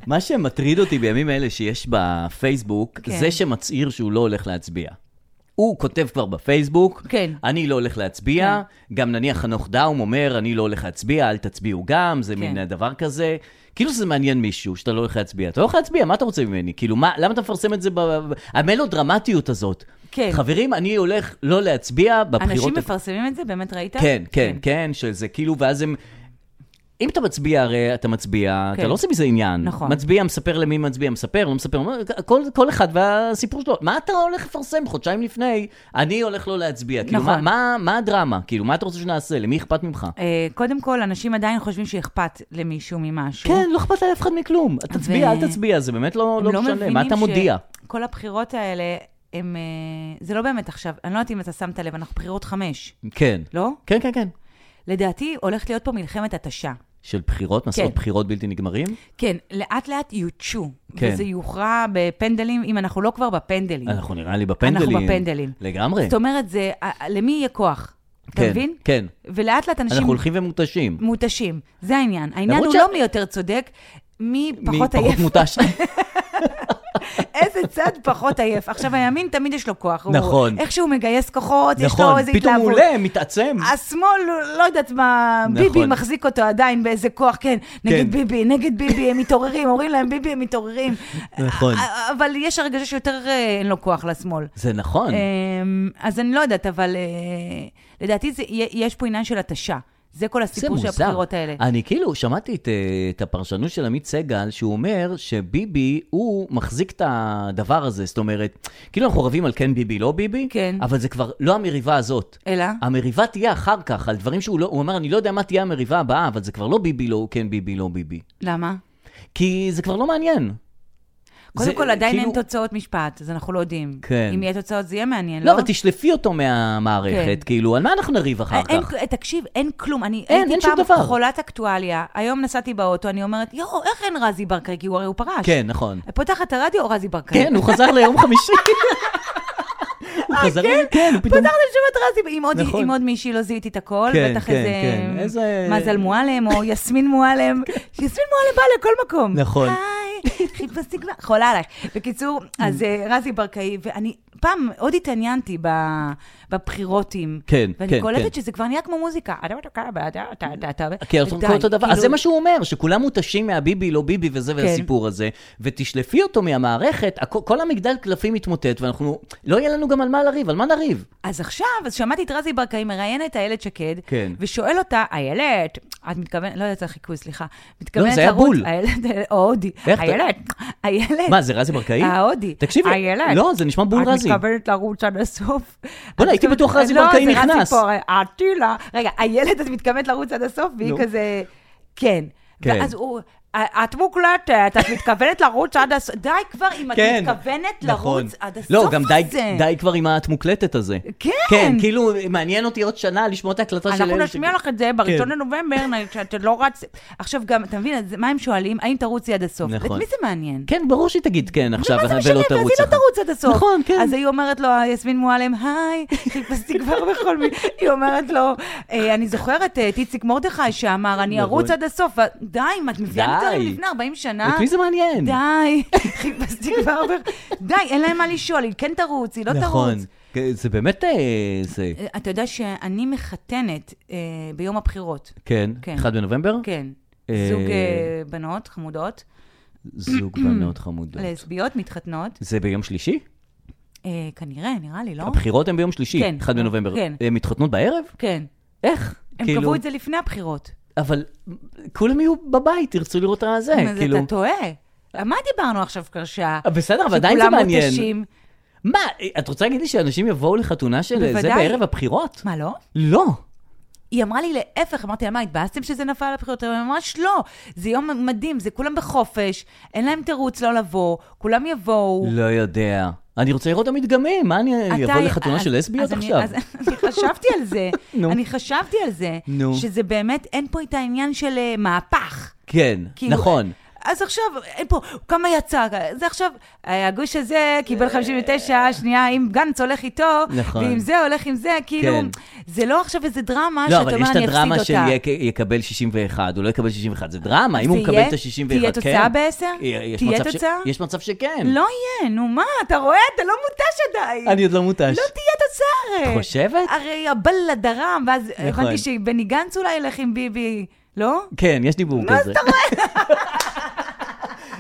Speaker 2: מה שמטריד אותי בימים אלה שיש בפייסבוק,
Speaker 3: כן.
Speaker 2: זה שמצהיר שהוא לא הולך להצביע. הוא כותב כבר בפייסבוק,
Speaker 3: כן.
Speaker 2: אני לא הולך להצביע, גם נניח חנוך דאום אומר, אני לא הולך להצביע, אל תצביעו גם, זה
Speaker 3: כן.
Speaker 2: מין דבר כזה. כאילו שזה מעניין מישהו, שאתה לא הולך להצביע. אתה לא הולך להצביע, מה אתה רוצה ממני? כאילו, מה, למה אתה מפרסם את זה ב... ב- המלודרמטיות הזאת.
Speaker 3: כן.
Speaker 2: חברים, אני הולך לא להצביע בבחירות...
Speaker 3: אנשים
Speaker 2: הבאות.
Speaker 3: מפרסמים את זה, באמת ראית?
Speaker 2: כן, כן, כן, שזה כאילו, ואז הם... אם אתה מצביע, הרי אתה מצביע,
Speaker 3: כן.
Speaker 2: אתה לא עושה מזה עניין.
Speaker 3: נכון.
Speaker 2: מצביע, מספר למי מצביע, מספר, לא מספר, כל, כל אחד והסיפור שלו. מה אתה הולך לפרסם חודשיים לפני? אני הולך לא להצביע. כאילו,
Speaker 3: נכון.
Speaker 2: מה, מה, מה הדרמה? כאילו, מה אתה רוצה שנעשה? למי אכפת ממך?
Speaker 3: אה, קודם כל, אנשים עדיין חושבים שאכפת למישהו ממשהו.
Speaker 2: כן, לא אכפת לאף אחד מכלום. תצביע,
Speaker 3: ו-
Speaker 2: אל תצביע, זה באמת לא,
Speaker 3: הם
Speaker 2: לא משנה.
Speaker 3: מבינים
Speaker 2: מה אתה מודיע?
Speaker 3: שכל הבחירות האלה, הם... אה, זה לא באמת עכשיו, אני לא יודעת אם אתה שמת לב, אנחנו בחירות חמש,
Speaker 2: כן.
Speaker 3: לא?
Speaker 2: כן, כן, כן.
Speaker 3: לדעתי, הולכת להיות פה מלחמת התשה.
Speaker 2: של בחירות, מסעות בחירות בלתי נגמרים?
Speaker 3: כן, לאט-לאט יותשו.
Speaker 2: כן.
Speaker 3: וזה יוכרע בפנדלים, אם אנחנו לא כבר בפנדלים.
Speaker 2: אנחנו נראה לי בפנדלים.
Speaker 3: אנחנו בפנדלים.
Speaker 2: לגמרי.
Speaker 3: זאת אומרת, זה... אה, אה, למי יהיה כוח? אתה
Speaker 2: כן,
Speaker 3: מבין?
Speaker 2: כן.
Speaker 3: ולאט-לאט אנשים
Speaker 2: אנחנו הולכים ומותשים.
Speaker 3: מותשים. זה העניין. העניין
Speaker 2: למרות
Speaker 3: הוא
Speaker 2: שה-
Speaker 3: לא מי יותר צודק, מי פחות
Speaker 2: מי
Speaker 3: עייף.
Speaker 2: פחות מותש.
Speaker 3: איזה צד פחות עייף. עכשיו, הימין תמיד יש לו כוח. הוא-
Speaker 2: נכון.
Speaker 3: איך שהוא מגייס כוחות, יש לו
Speaker 2: נכון,
Speaker 3: איזה
Speaker 2: פתאום הוא
Speaker 3: התלהבות.
Speaker 2: עולה, מתעצם.
Speaker 3: השמאל, לא יודעת מה,
Speaker 2: נכון.
Speaker 3: ביבי מחזיק אותו עדיין באיזה כוח, כן,
Speaker 2: כן.
Speaker 3: נגד ביבי, נגד ביבי, הם מתעוררים, אומרים להם ביבי, הם מתעוררים.
Speaker 2: נכון.
Speaker 3: א- אבל יש הרגשה שיותר אה, אין לו כוח לשמאל.
Speaker 2: זה נכון.
Speaker 3: אמ, אז אני לא יודעת, אבל אה, לדעתי זה- יש פה עניין של התשה. זה כל
Speaker 2: זה
Speaker 3: הסיפור של
Speaker 2: מוזר.
Speaker 3: הבחירות האלה.
Speaker 2: אני כאילו שמעתי את, אה, את הפרשנות של עמית סגל, שהוא אומר שביבי, הוא מחזיק את הדבר הזה. זאת אומרת, כאילו אנחנו רבים על כן ביבי, לא ביבי,
Speaker 3: כן.
Speaker 2: אבל זה כבר לא המריבה הזאת.
Speaker 3: אלא?
Speaker 2: המריבה תהיה אחר כך, על דברים שהוא לא, הוא אמר, אני לא יודע מה תהיה המריבה הבאה, אבל זה כבר לא ביבי, לא, כן ביבי, לא ביבי.
Speaker 3: למה?
Speaker 2: כי זה כבר לא מעניין. זה,
Speaker 3: קודם כל, עדיין אין
Speaker 2: כאילו-
Speaker 3: תוצאות משפט, אז אנחנו לא יודעים.
Speaker 2: כן.
Speaker 3: אם יהיה תוצאות זה יהיה מעניין,
Speaker 2: לא, אבל תשלפי אותו מהמערכת,
Speaker 3: כן.
Speaker 2: כאילו, על מה אנחנו נריב אחר
Speaker 3: אה, אין,
Speaker 2: כך?
Speaker 3: אין- תקשיב, אין כלום. אני
Speaker 2: אין,
Speaker 3: הייתי
Speaker 2: אין שום
Speaker 3: פעם
Speaker 2: דבר.
Speaker 3: חולת אקטואליה, היום נסעתי באוטו, אני אומרת, יואו, איך אין רזי ברקאי? כי הוא הרי הוא פרש.
Speaker 2: כן,
Speaker 3: אה,
Speaker 2: נכון.
Speaker 3: פותחת הרדיו או רזי ברקאי?
Speaker 2: כן, הוא חזר ליום חמישי. הוא
Speaker 3: אה,
Speaker 2: חזר, ליום- כן, הוא פתאום...
Speaker 3: פתחת לשבת רזי, עם עוד-
Speaker 2: נכון.
Speaker 3: עם עוד מישהי לא זיהיתי את הכל,
Speaker 2: כן,
Speaker 3: בטח
Speaker 2: כן,
Speaker 3: איזה...
Speaker 2: כן. איזה-
Speaker 3: מזל מועלם, או יסמין מועלם. יסמין מועלם באה לכל מקום.
Speaker 2: נכון.
Speaker 3: היי, חיפשתי כבר, חולה עלייך. בקיצור, אז אה, רזי ברקאי, ואני פעם מאוד התעניינתי ב- בבחירותים.
Speaker 2: כן, כן,
Speaker 3: ואני
Speaker 2: כן.
Speaker 3: קולטת שזה כבר נהיה כמו מוזיקה. אתה אתה אתה אתה אתה אתה
Speaker 2: כי אוקיי, אנחנו כל אותו דבר, אז
Speaker 3: כאילו-
Speaker 2: זה מה שהוא אומר, שכולם מותשים מהביבי, לא ביבי וזה
Speaker 3: כן.
Speaker 2: והסיפור הזה, ותשלפי אותו מהמערכת, הכ- כל המגדל קלפים יתמוטט, ואנחנו, לא יהיה לנו גם על מה לריב, על מה נריב?
Speaker 3: אז עכשיו, אז שמעתי את רזי ברקאי מראיינת את איילת שקד,
Speaker 2: כן.
Speaker 3: ושואל אותה, איילת, את מתכוונת, לא יודעת, זה חיקוי, סליחה. מתכוונת
Speaker 2: זה היה
Speaker 3: לרוץ-
Speaker 2: בול.
Speaker 3: איילת, או הודי.
Speaker 2: איך אתה-
Speaker 3: איילת, איילת.
Speaker 2: מה, זה רזי ברקאי?
Speaker 3: ההודי.
Speaker 2: תקשיבי,
Speaker 3: איילת.
Speaker 2: לא, זה נשמע בול רזי.
Speaker 3: אה, את מתכוונת לרוץ עד הסוף.
Speaker 2: בוא'נה,
Speaker 3: את
Speaker 2: הייתי
Speaker 3: מתכוונת-
Speaker 2: בטוח רזי ברקאי
Speaker 3: לא, זה
Speaker 2: נכנס.
Speaker 3: רזי פה, אטילה. רגע, איילת, את מתכוונת לרוץ עד הסוף, והיא
Speaker 2: נו.
Speaker 3: כזה, כן.
Speaker 2: כן.
Speaker 3: ואז הוא... את מוקלטת, את מתכוונת לרוץ עד הסוף, די כבר אם את מתכוונת
Speaker 2: כן. נכון.
Speaker 3: לרוץ עד הסוף הזה.
Speaker 2: לא, גם די, די כבר עם את מוקלטת הזה.
Speaker 3: כן.
Speaker 2: כן, כאילו, מעניין אותי עוד שנה לשמוע את ההקלטה של... כן.
Speaker 3: אנחנו
Speaker 2: אלה
Speaker 3: נשמיע
Speaker 2: ש-
Speaker 3: לך את זה בראשון לנובמבר, נ- שאת לא רצת. עכשיו גם, אתה מבין, אז מה הם שואלים? האם תרוצי עד הסוף?
Speaker 2: נכון.
Speaker 3: את מי זה מעניין?
Speaker 2: כן, ברור שהיא תגיד כן עכשיו,
Speaker 3: מה זה
Speaker 2: ולא
Speaker 3: משנה? ואז היא לא
Speaker 2: אחר.
Speaker 3: תרוץ עד הסוף.
Speaker 2: נכון, כן.
Speaker 3: אז היא אומרת לו, יסמין מועלם, היי, חיפשתי כבר בכל מיני. היא אומרת לו, "אה, אני זוכרת אה, את איציק מרדכי שאמר, אני
Speaker 2: נכון.
Speaker 3: ארוץ עד הסוף. ו- די, אם את מביאה
Speaker 2: די.
Speaker 3: מצרים לפני 40 שנה.
Speaker 2: את מי זה מעניין?
Speaker 3: אה? די, לא חיפשתי כבר ב... די, אין להם מה לשאול, היא כן תרוץ, היא לא תרוץ.
Speaker 2: נכון. כן, זה באמת... אה, זה...
Speaker 3: אה, אתה יודע שאני מחתנת אה, ביום הבחירות.
Speaker 2: כן.
Speaker 3: כן.
Speaker 2: 1 בנובמבר?
Speaker 3: כן.
Speaker 2: אה,
Speaker 3: זוג אה, בנות חמודות,
Speaker 2: זוג בנות חמודות.
Speaker 3: לסביות, מתחתנות,
Speaker 2: זה ביום שלישי?
Speaker 3: אה, כנראה, נראה לי, לא?
Speaker 2: הבחירות הן ביום שלישי,
Speaker 3: כן.
Speaker 2: 1 בנובמבר.
Speaker 3: כן.
Speaker 2: הן מתחתנות בערב?
Speaker 3: כן.
Speaker 2: איך?
Speaker 3: הם
Speaker 2: כאילו- אה,
Speaker 3: קבעו את זה לפני הבחירות.
Speaker 2: אבל כולם יהיו בבית, ירצו לראות את הזה,
Speaker 3: אז
Speaker 2: כאילו...
Speaker 3: אתה טועה. על מה דיברנו עכשיו, קרשה?
Speaker 2: אה, בסדר, אבל עדיין זה
Speaker 3: שכולם
Speaker 2: מעניין.
Speaker 3: מותשים.
Speaker 2: מה, את רוצה להגיד לי שאנשים יבואו לחתונה של זה
Speaker 3: בוודאי.
Speaker 2: בערב הבחירות?
Speaker 3: מה, לא?
Speaker 2: לא.
Speaker 3: היא אמרה לי להפך, אמרתי לה, מה, התבאסתם שזה נפל על הבחירות? היא אמרה, ממש לא, זה יום מדהים, זה כולם בחופש, אין להם תירוץ לא לבוא, כולם יבואו.
Speaker 2: לא יודע. אני רוצה לראות את המדגמים, מה אני
Speaker 3: אתה-
Speaker 2: אבוא לחתונה
Speaker 3: אז-
Speaker 2: של לסביות
Speaker 3: אז אני-
Speaker 2: עכשיו?
Speaker 3: אז אני חשבתי על זה,
Speaker 2: נו.
Speaker 3: אני חשבתי על זה,
Speaker 2: נו.
Speaker 3: שזה באמת, אין פה את העניין של אה, מהפך.
Speaker 2: כן,
Speaker 3: כאילו,
Speaker 2: נכון.
Speaker 3: אז עכשיו, אין פה, כמה יצא? זה עכשיו, אה, הגוש הזה קיבל 59, השנייה, אם גנץ הולך איתו,
Speaker 2: נכון.
Speaker 3: ואם זה הולך עם זה, כאילו,
Speaker 2: כן.
Speaker 3: זה לא עכשיו איזה דרמה
Speaker 2: לא,
Speaker 3: שאתה אומר,
Speaker 2: אבל
Speaker 3: אני
Speaker 2: יש
Speaker 3: אפסיד
Speaker 2: את
Speaker 3: אותה.
Speaker 2: הדרמה של יק- יקבל 61, הוא לא יקבל 61, זה דרמה, אם הוא
Speaker 3: זה
Speaker 2: מקבל
Speaker 3: יהיה?
Speaker 2: את ה-61, כן. אה,
Speaker 3: תהיה תוצאה בעשר?
Speaker 2: יש
Speaker 3: תהיה
Speaker 2: מצב ש-
Speaker 3: תוצאה?
Speaker 2: יש מצב שכן.
Speaker 3: לא יהיה, נו מה, אתה רואה? אתה לא מותש עדיין.
Speaker 2: אני עוד לא מותש.
Speaker 3: לא תהיה תוצאה הרי.
Speaker 2: את חושבת?
Speaker 3: הרי הבללה דרם, ואז
Speaker 2: נכון.
Speaker 3: הבנתי שבני גנץ אולי ילך עם ביבי, לא?
Speaker 2: כן, יש דיבור כזה. מה זאת אומרת?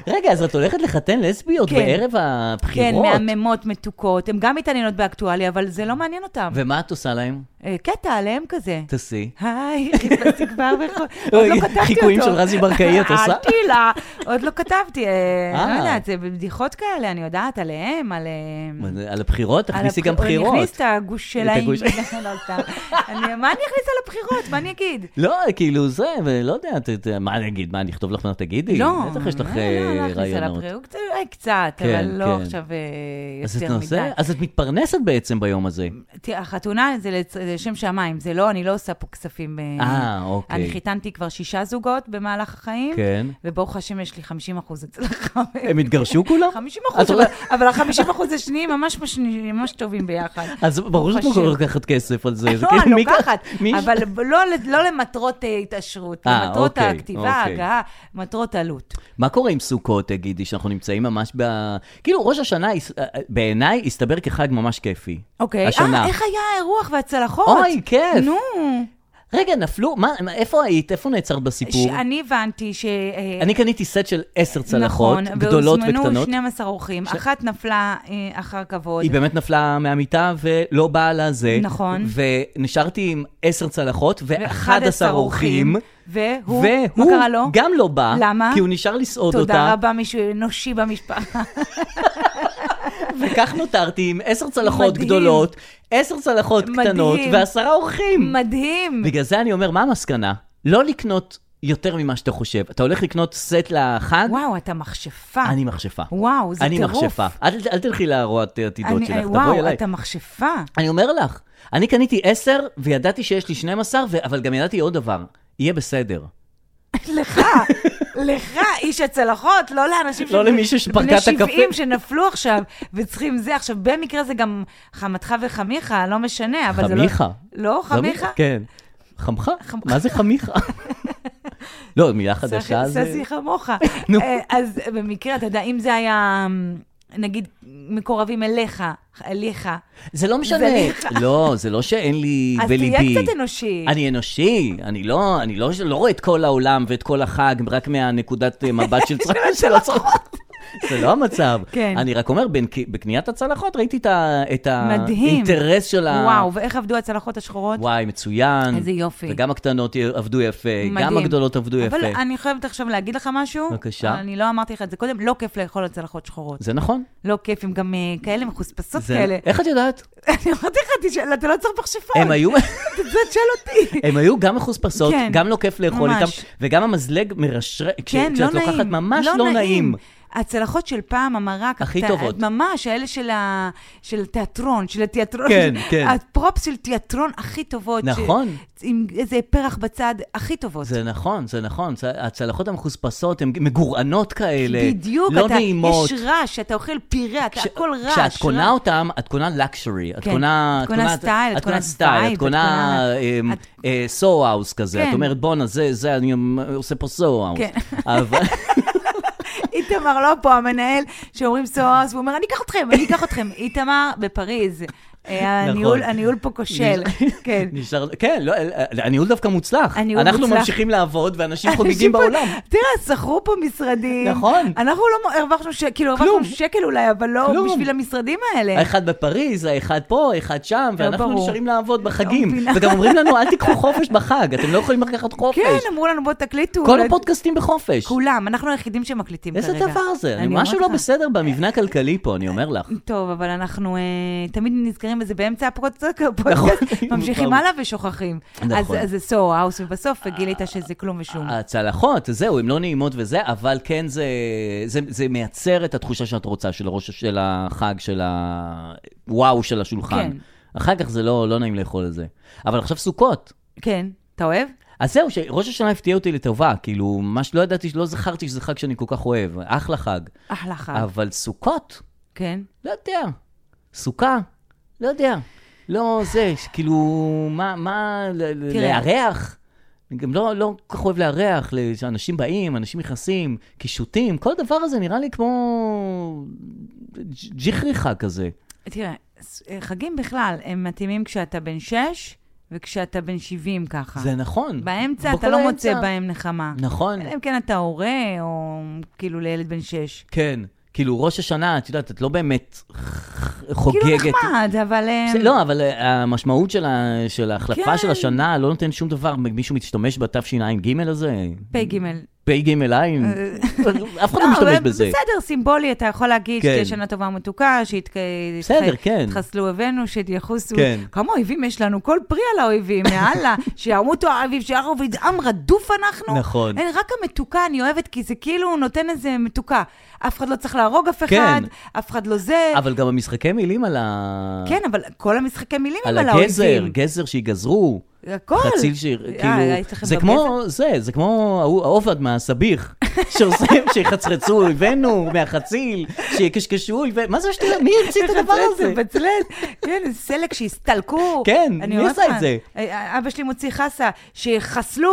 Speaker 2: רגע, אז את הולכת לחתן לסביות
Speaker 3: כן.
Speaker 2: בערב
Speaker 3: כן,
Speaker 2: הבחירות?
Speaker 3: מהממות, מתוקות, הן גם מתעניינות באקטואליה, אבל זה לא מעניין אותן.
Speaker 2: ומה את עושה להם?
Speaker 3: אה, קטע עליהם כזה.
Speaker 2: תעשי.
Speaker 3: היי, חיפשתי כבר בכל... עוד לא
Speaker 2: אוי,
Speaker 3: כתבתי אותו.
Speaker 2: חיקויים של רזי ברקאי, את עושה?
Speaker 3: אל תהילה, עוד לא כתבתי, אה,
Speaker 2: אה.
Speaker 3: לא יודעת, זה בדיחות כאלה, אני יודעת עליהם, על... אה,
Speaker 2: מה זה, על הבחירות?
Speaker 3: על
Speaker 2: תכניסי גם
Speaker 3: הבח-
Speaker 2: בחירות.
Speaker 3: אני אכניס את הגוש
Speaker 2: את
Speaker 3: שלהם.
Speaker 2: הגוש.
Speaker 3: לא, סתם. אני- מה אני אכניס על הבחירות? מה אני אגיד?
Speaker 2: לא, כאילו זה, ולא יודע, ת- ת- מה אני אגיד, מה, אני אכתוב לך מה תגידי?
Speaker 3: לא,
Speaker 2: בטח יש לך
Speaker 3: לא,
Speaker 2: אה,
Speaker 3: לא, לא להכניס על
Speaker 2: רעיונות.
Speaker 3: הבריאות, אולי קצת, אבל
Speaker 2: כן,
Speaker 3: לא
Speaker 2: כן.
Speaker 3: עכשיו אה,
Speaker 2: אז את
Speaker 3: יותר מדי.
Speaker 2: נושא, אז את מתפרנסת בעצם ביום הזה.
Speaker 3: תראה, החתונה זה לצ- זה לשם שמיים, זה לא, אני לא עושה פה כספים.
Speaker 2: אה, אוקיי.
Speaker 3: אני חיתנתי כבר שישה זוגות במהלך החיים,
Speaker 2: כן.
Speaker 3: וברוך השם יש לי 50 אחוז הצלחה.
Speaker 2: הם לא? התגרשו כולם?
Speaker 3: 50
Speaker 2: את
Speaker 3: אה, אחוז,
Speaker 2: רואה-
Speaker 3: אבל ה-50 אחוז השניים ממש משני- ממש טובים ביחד.
Speaker 2: אז ברור שאת לא
Speaker 3: ברוך
Speaker 2: יכולה
Speaker 3: השם.
Speaker 2: לקחת כסף על זה. זה
Speaker 3: לא,
Speaker 2: כאילו
Speaker 3: אני
Speaker 2: מי ייקח-
Speaker 3: לוקחת,
Speaker 2: מי-
Speaker 3: אבל לא ל- לא למטרות אה, התעשרות,
Speaker 2: אה,
Speaker 3: למטרות
Speaker 2: אוקיי,
Speaker 3: הכתיבה,
Speaker 2: אוקיי.
Speaker 3: ההגעה, מטרות עלות.
Speaker 2: מה קורה עם סוכות, תגידי, שאנחנו נמצאים ממש ב... כאילו, ראש השנה, הס- בעיניי, הסתבר כחג ממש כיפי.
Speaker 3: אוקיי,
Speaker 2: השנה.
Speaker 3: אה, איך היה האירוח והצלחות?
Speaker 2: אוי, כיף.
Speaker 3: נו.
Speaker 2: רגע, נפלו, מה, מה- איפה היית? איפה נעצרת בסיפור?
Speaker 3: שאני הבנתי ש... אה,
Speaker 2: אני קניתי סט של עשר צלחות, גדולות
Speaker 3: נכון, והוזמנו
Speaker 2: וקטנות.
Speaker 3: 12 אורחים, אחת נפלה אה, אחר כבוד.
Speaker 2: היא באמת נפלה מהמיטה ולא באה לזה.
Speaker 3: נכון.
Speaker 2: ונשארתי עם עשר צלחות ו-11 אורחים.
Speaker 3: והוא, מה
Speaker 2: והוא
Speaker 3: קרה לו?
Speaker 2: גם לא בא.
Speaker 3: למה?
Speaker 2: כי הוא נשאר לסעוד אותה.
Speaker 3: תודה רבה, מישהו אנושי במשפחה.
Speaker 2: וכך נותרתי עם עשר צלחות
Speaker 3: מדהים.
Speaker 2: גדולות, עשר צלחות
Speaker 3: מדהים.
Speaker 2: קטנות ועשרה אורחים.
Speaker 3: מדהים.
Speaker 2: בגלל זה אני אומר, מה המסקנה? לא לקנות יותר ממה שאתה חושב. אתה הולך לקנות סט לחג,
Speaker 3: וואו, אתה מכשפה.
Speaker 2: אני מכשפה.
Speaker 3: וואו, זה
Speaker 2: אני
Speaker 3: טירוף.
Speaker 2: מכשפה. אל אל תלכי להראות עתידות
Speaker 3: אני- אה,
Speaker 2: שלך, תבואי
Speaker 3: וואו,
Speaker 2: אליי.
Speaker 3: אתה מכשפה.
Speaker 2: אני אומר לך, אני קניתי 10 וידעתי שיש לי 12, ו- אבל גם ידעתי עוד דבר, יהיה בסדר.
Speaker 3: לך, לך, איש הצלחות, לא לאנשים
Speaker 2: לא למישהו שפרקה את הקפה.
Speaker 3: בני 70 שנפלו עכשיו וצריכים זה. עכשיו, במקרה זה גם חמתך וחמיך, לא משנה, אבל זה לא...
Speaker 2: חמיך.
Speaker 3: לא, חמיך?
Speaker 2: כן. חמך? מה זה חמיך? לא, מילה חדשה זה...
Speaker 3: ססי חמוך.
Speaker 2: נו.
Speaker 3: אה, אז במקרה, אתה יודע, אם זה היה נגיד, מקורבים אליך, אליך,
Speaker 2: זה לא משנה.
Speaker 3: לך.
Speaker 2: לא, זה לא שאין לי
Speaker 3: אז
Speaker 2: בליבי.
Speaker 3: תהיה קצת אנושי.
Speaker 2: אני אנושי, אני לא, אני לא, לא רואה את כל העולם ואת כל החג רק מהנקודת אה, מבט של צרכן של הצרכות. זה לא המצב.
Speaker 3: כן.
Speaker 2: אני רק אומר, בין- בקניית הצלחות ראיתי את ה- את
Speaker 3: מדהים.
Speaker 2: האינטרס של ה...
Speaker 3: וואו, ואיך עבדו הצלחות השחורות?
Speaker 2: וואי, מצוין.
Speaker 3: איזה יופי.
Speaker 2: וגם הקטנות עבדו יפה, גם
Speaker 3: מדהים.
Speaker 2: הגדולות עבדו יפה.
Speaker 3: אבל אני חייבת עכשיו להגיד לך משהו.
Speaker 2: בבקשה.
Speaker 3: אני לא אמרתי לך את זה קודם, לא כיף לאכול הצלחות שחורות.
Speaker 2: זה נכון.
Speaker 3: לא כיף, הם גם אה, כאלה מחוספסות
Speaker 2: זה-
Speaker 3: כאלה.
Speaker 2: איך את יודעת?
Speaker 3: אני אמרתי לך, תשאל, אתה לא צריך מכשפות.
Speaker 2: הם היו...
Speaker 3: אתה תשאל אותי.
Speaker 2: הם היו גם מחוספסות,
Speaker 3: כן.
Speaker 2: גם לא כיף לאכול
Speaker 3: ממש.
Speaker 2: איתם, וגם המזלג מרשרש, כש-
Speaker 3: כן, לא
Speaker 2: כשאת
Speaker 3: נעים.
Speaker 2: לוקחת ממש לא נעים.
Speaker 3: הצלחות של פעם, המרק,
Speaker 2: הכי
Speaker 3: הת-
Speaker 2: טובות.
Speaker 3: ממש, האלה של, ה... של התיאטרון, של התיאטרון.
Speaker 2: כן, כן.
Speaker 3: הפרופס של תיאטרון הכי טובות.
Speaker 2: נכון.
Speaker 3: ש... עם איזה פרח בצד, הכי טובות.
Speaker 2: זה נכון, זה נכון. צ- הצלחות המחוספסות הן מגורענות כאלה,
Speaker 3: בדיוק,
Speaker 2: לא
Speaker 3: אתה,
Speaker 2: נעימות.
Speaker 3: יש רעש, אתה אוכל פירה, אתה
Speaker 2: כש-
Speaker 3: הכל רעש.
Speaker 2: כשאת קונה
Speaker 3: רע.
Speaker 2: אותם, את קונה לקשורי, את
Speaker 3: כן.
Speaker 2: קונה...
Speaker 3: את קונה סטייל, את
Speaker 2: את
Speaker 3: קונה
Speaker 2: קונה סטייל,
Speaker 3: וייב,
Speaker 2: את
Speaker 3: את
Speaker 2: קונה
Speaker 3: קונה- את-
Speaker 2: סו-האוס כזה.
Speaker 3: כן.
Speaker 2: את אומרת, בואנה, זה, זה, אני אמ, עושה פה סו-האוס.
Speaker 3: כן.
Speaker 2: אבל...
Speaker 3: איתמר לא פה, המנהל, שאומרים סוהרס, והוא אומר, אני אקח אתכם, אני אקח אתכם. איתמר בפריז. אה,
Speaker 2: נכון.
Speaker 3: הניהול, הניהול פה כושל, כן.
Speaker 2: נשאר, כן, לא, הניהול דווקא מוצלח.
Speaker 3: הניהול
Speaker 2: אנחנו
Speaker 3: מוצלח.
Speaker 2: ממשיכים לעבוד, ואנשים
Speaker 3: אנשים
Speaker 2: חוגגים
Speaker 3: פה-
Speaker 2: בעולם.
Speaker 3: תראה, שכרו פה משרדים.
Speaker 2: נכון.
Speaker 3: אנחנו לא מ- הרווחנו שקל, כאילו הרווחנו
Speaker 2: כלום.
Speaker 3: שקל אולי, אבל לא
Speaker 2: כלום.
Speaker 3: בשביל המשרדים האלה.
Speaker 2: האחד בפריז, האחד פה, האחד שם,
Speaker 3: כן. לא
Speaker 2: ואנחנו
Speaker 3: ברור.
Speaker 2: נשארים לעבוד בחגים.
Speaker 3: מבינה.
Speaker 2: וגם אומרים לנו, אל תיקחו חופש בחג, אתם לא יכולים לקחת חופש.
Speaker 3: כן, אמרו לנו, בואו תקליטו.
Speaker 2: כל
Speaker 3: לא-
Speaker 2: הפודקאסטים בחופש.
Speaker 3: כולם, אנחנו היחידים שמקליטים כרגע.
Speaker 2: איזה דבר זה? אני
Speaker 3: אומרת
Speaker 2: משהו לא
Speaker 3: לך.
Speaker 2: בסדר במבנה הכלכלי פה, אני אומר לך.
Speaker 3: טוב, אבל אנחנו אה, תמיד נזכרים בזה באמצע הפודקאסט,
Speaker 2: נכון.
Speaker 3: ממשיכים
Speaker 2: נכון.
Speaker 3: הלאה ושוכחים. אז
Speaker 2: נכון. אה.
Speaker 3: אז זה סוהו האוס, ובסוף גילית שזה כלום ושום.
Speaker 2: הצלחות, זהו, הן לא נעימות וזה, אבל כן זה, זה, זה מייצר את התחושה שאת רוצה, של הראש, של החג, של הוואו של השולחן.
Speaker 3: כן.
Speaker 2: אחר כך זה לא, לא נעים לאכול את זה. אבל עכשיו סוכות.
Speaker 3: כן, אתה אוהב?
Speaker 2: אז זהו, שראש השנה הפתיע אותי לטובה, כאילו, מה שלא ידעתי, לא זכרתי שזה חג שאני כל כך אוהב, אחלה חג.
Speaker 3: אחלה חג,
Speaker 2: אבל סוכות,
Speaker 3: כן.
Speaker 2: לא יודע. סוכה, לא יודע. לא זה, ש- כאילו, מה, מה, ל- ל-
Speaker 3: תראה.
Speaker 2: לארח? אני גם לא, לא כל כך אוהב לארח, ל- שאנשים באים, אנשים נכנסים, קישוטים, כל הדבר הזה נראה לי כמו ג'- ג'יחריכה כזה.
Speaker 3: תראה, ס- אה, חגים בכלל, הם מתאימים כשאתה בן שש וכשאתה בן 70 ככה.
Speaker 2: זה נכון.
Speaker 3: אה. באמצע אתה
Speaker 2: בכל
Speaker 3: לא
Speaker 2: האמצע.
Speaker 3: מוצא בהם נחמה.
Speaker 2: נכון,
Speaker 3: אלא אם כן אתה הורה, או כאילו לילד בן שש.
Speaker 2: כן. כאילו, ראש השנה, את יודעת, את לא באמת ח- חוגגת.
Speaker 3: כאילו נחמד, אבל... אה,
Speaker 2: זה- לא, אבל אה, המשמעות של, ה, של ההחלפה
Speaker 3: כן.
Speaker 2: של השנה לא נותן שום דבר. מישהו משתמש בתשע"ג הזה?
Speaker 3: פ"ג.
Speaker 2: פ"ג עין? אף אחד לא משתמש בזה.
Speaker 3: אה. בסדר, סימבולי, אתה יכול להגיד
Speaker 2: כן.
Speaker 3: שתהיה שנה טובה ומתוקה,
Speaker 2: בסדר, כן.
Speaker 3: שיתחסלו אויבינו, שיחוסו.
Speaker 2: כן.
Speaker 3: כמה אויבים יש לנו, כל פרי על האויבים, יאללה, שימותו האויבים, שיערו עם רדוף אנחנו.
Speaker 2: נכון.
Speaker 3: אין, רק המתוקה אני אוהבת, כי זה כאילו נותן איזה מתוקה. אף אחד לא צריך להרוג אף
Speaker 2: כן.
Speaker 3: אחד, אף אחד לא זה.
Speaker 2: אבל גם המשחקי מילים על ה...
Speaker 3: כן, אבל כל המשחקי מילים הם
Speaker 2: על
Speaker 3: על
Speaker 2: הגזר,
Speaker 3: האויבים.
Speaker 2: גזר שיגזרו,
Speaker 3: הכל.
Speaker 2: חציל ש... כאילו,
Speaker 3: אה, היית לכם
Speaker 2: זה
Speaker 3: בגזר?
Speaker 2: כמו זה, זה כמו ההוא- העובד מהסביך, שעושה, שיחצרצו אויבינו מהחציל, שיקשקשו אויבינו, מה זה השטויות? מי המציא את הדבר הזה?
Speaker 3: בצלאל, כן, איזה סלק שהסתלקו.
Speaker 2: כן,
Speaker 3: אני
Speaker 2: מי
Speaker 3: אומרת
Speaker 2: עשה את
Speaker 3: לך,
Speaker 2: זה?
Speaker 3: אה, אבא שלי מוציא חסה, שיחסלו.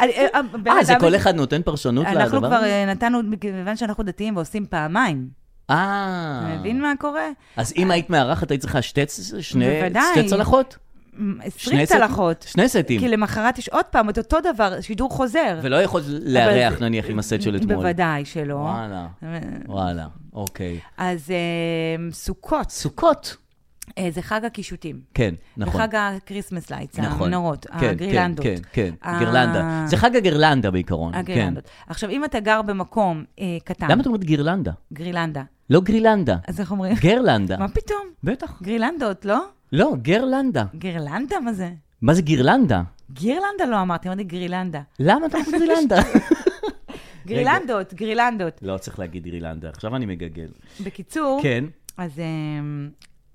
Speaker 2: אה, זה כל אחד נותן פרשנות לדבר?
Speaker 3: אנחנו כבר
Speaker 2: הזה?
Speaker 3: אה, נתנו, מכיוון שאנחנו דתיים ועושים פעמיים. אתה
Speaker 2: אה.
Speaker 3: מבין מה קורה?
Speaker 2: אז אם היית מארחת, היית צריכה שתי צ- שני-
Speaker 3: בוודאי.
Speaker 2: שתי צלחות?
Speaker 3: מ- עשרים
Speaker 2: שני סט-
Speaker 3: צלחות. כאילו-
Speaker 2: שני סטים.
Speaker 3: כי למחרת יש עוד פעם את אותו דבר, שידור חוזר.
Speaker 2: ולא יכולת לארח,
Speaker 3: אבל-
Speaker 2: נניח, עם הסט של אתמול.
Speaker 3: בוודאי לא. שלא. אה,
Speaker 2: וואלה, וואלה, אוקיי.
Speaker 3: אז אה, סוכות,
Speaker 2: סוכות.
Speaker 3: אה, זה חג הקישוטים.
Speaker 2: כן, נכון.
Speaker 3: וחג הקריסמס לייטס,
Speaker 2: נכון.
Speaker 3: המנורות,
Speaker 2: כן,
Speaker 3: הגרילנדות.
Speaker 2: כן, כן, כן,
Speaker 3: ה-
Speaker 2: גרלנדה. זה חג הגרלנדה בעיקרון.
Speaker 3: הגרילנדות. אה. עכשיו, אם אתה גר במקום אה, קטן,
Speaker 2: כן. למה את אומרת גרלנדה?
Speaker 3: גרילנדה,
Speaker 2: לא גרילנדה,
Speaker 3: אז איך אומרים?
Speaker 2: גרלנדה.
Speaker 3: מה פתאום?
Speaker 2: בטח.
Speaker 3: גרילנדות, לא?
Speaker 2: לא, גרלנדה.
Speaker 3: גרילנדה, מה זה?
Speaker 2: מה זה גרלנדה?
Speaker 3: גרילנדה לא אמרתי, אמרתי גרילנדה.
Speaker 2: למה את לא אומרת גרילנדה?
Speaker 3: גרילנדות, גרילנדות.
Speaker 2: לא צריך להגיד גרילנדה, עכשיו אני מגגל.
Speaker 3: אוקיי. בקיצור,
Speaker 2: כן,
Speaker 3: אז... אמ,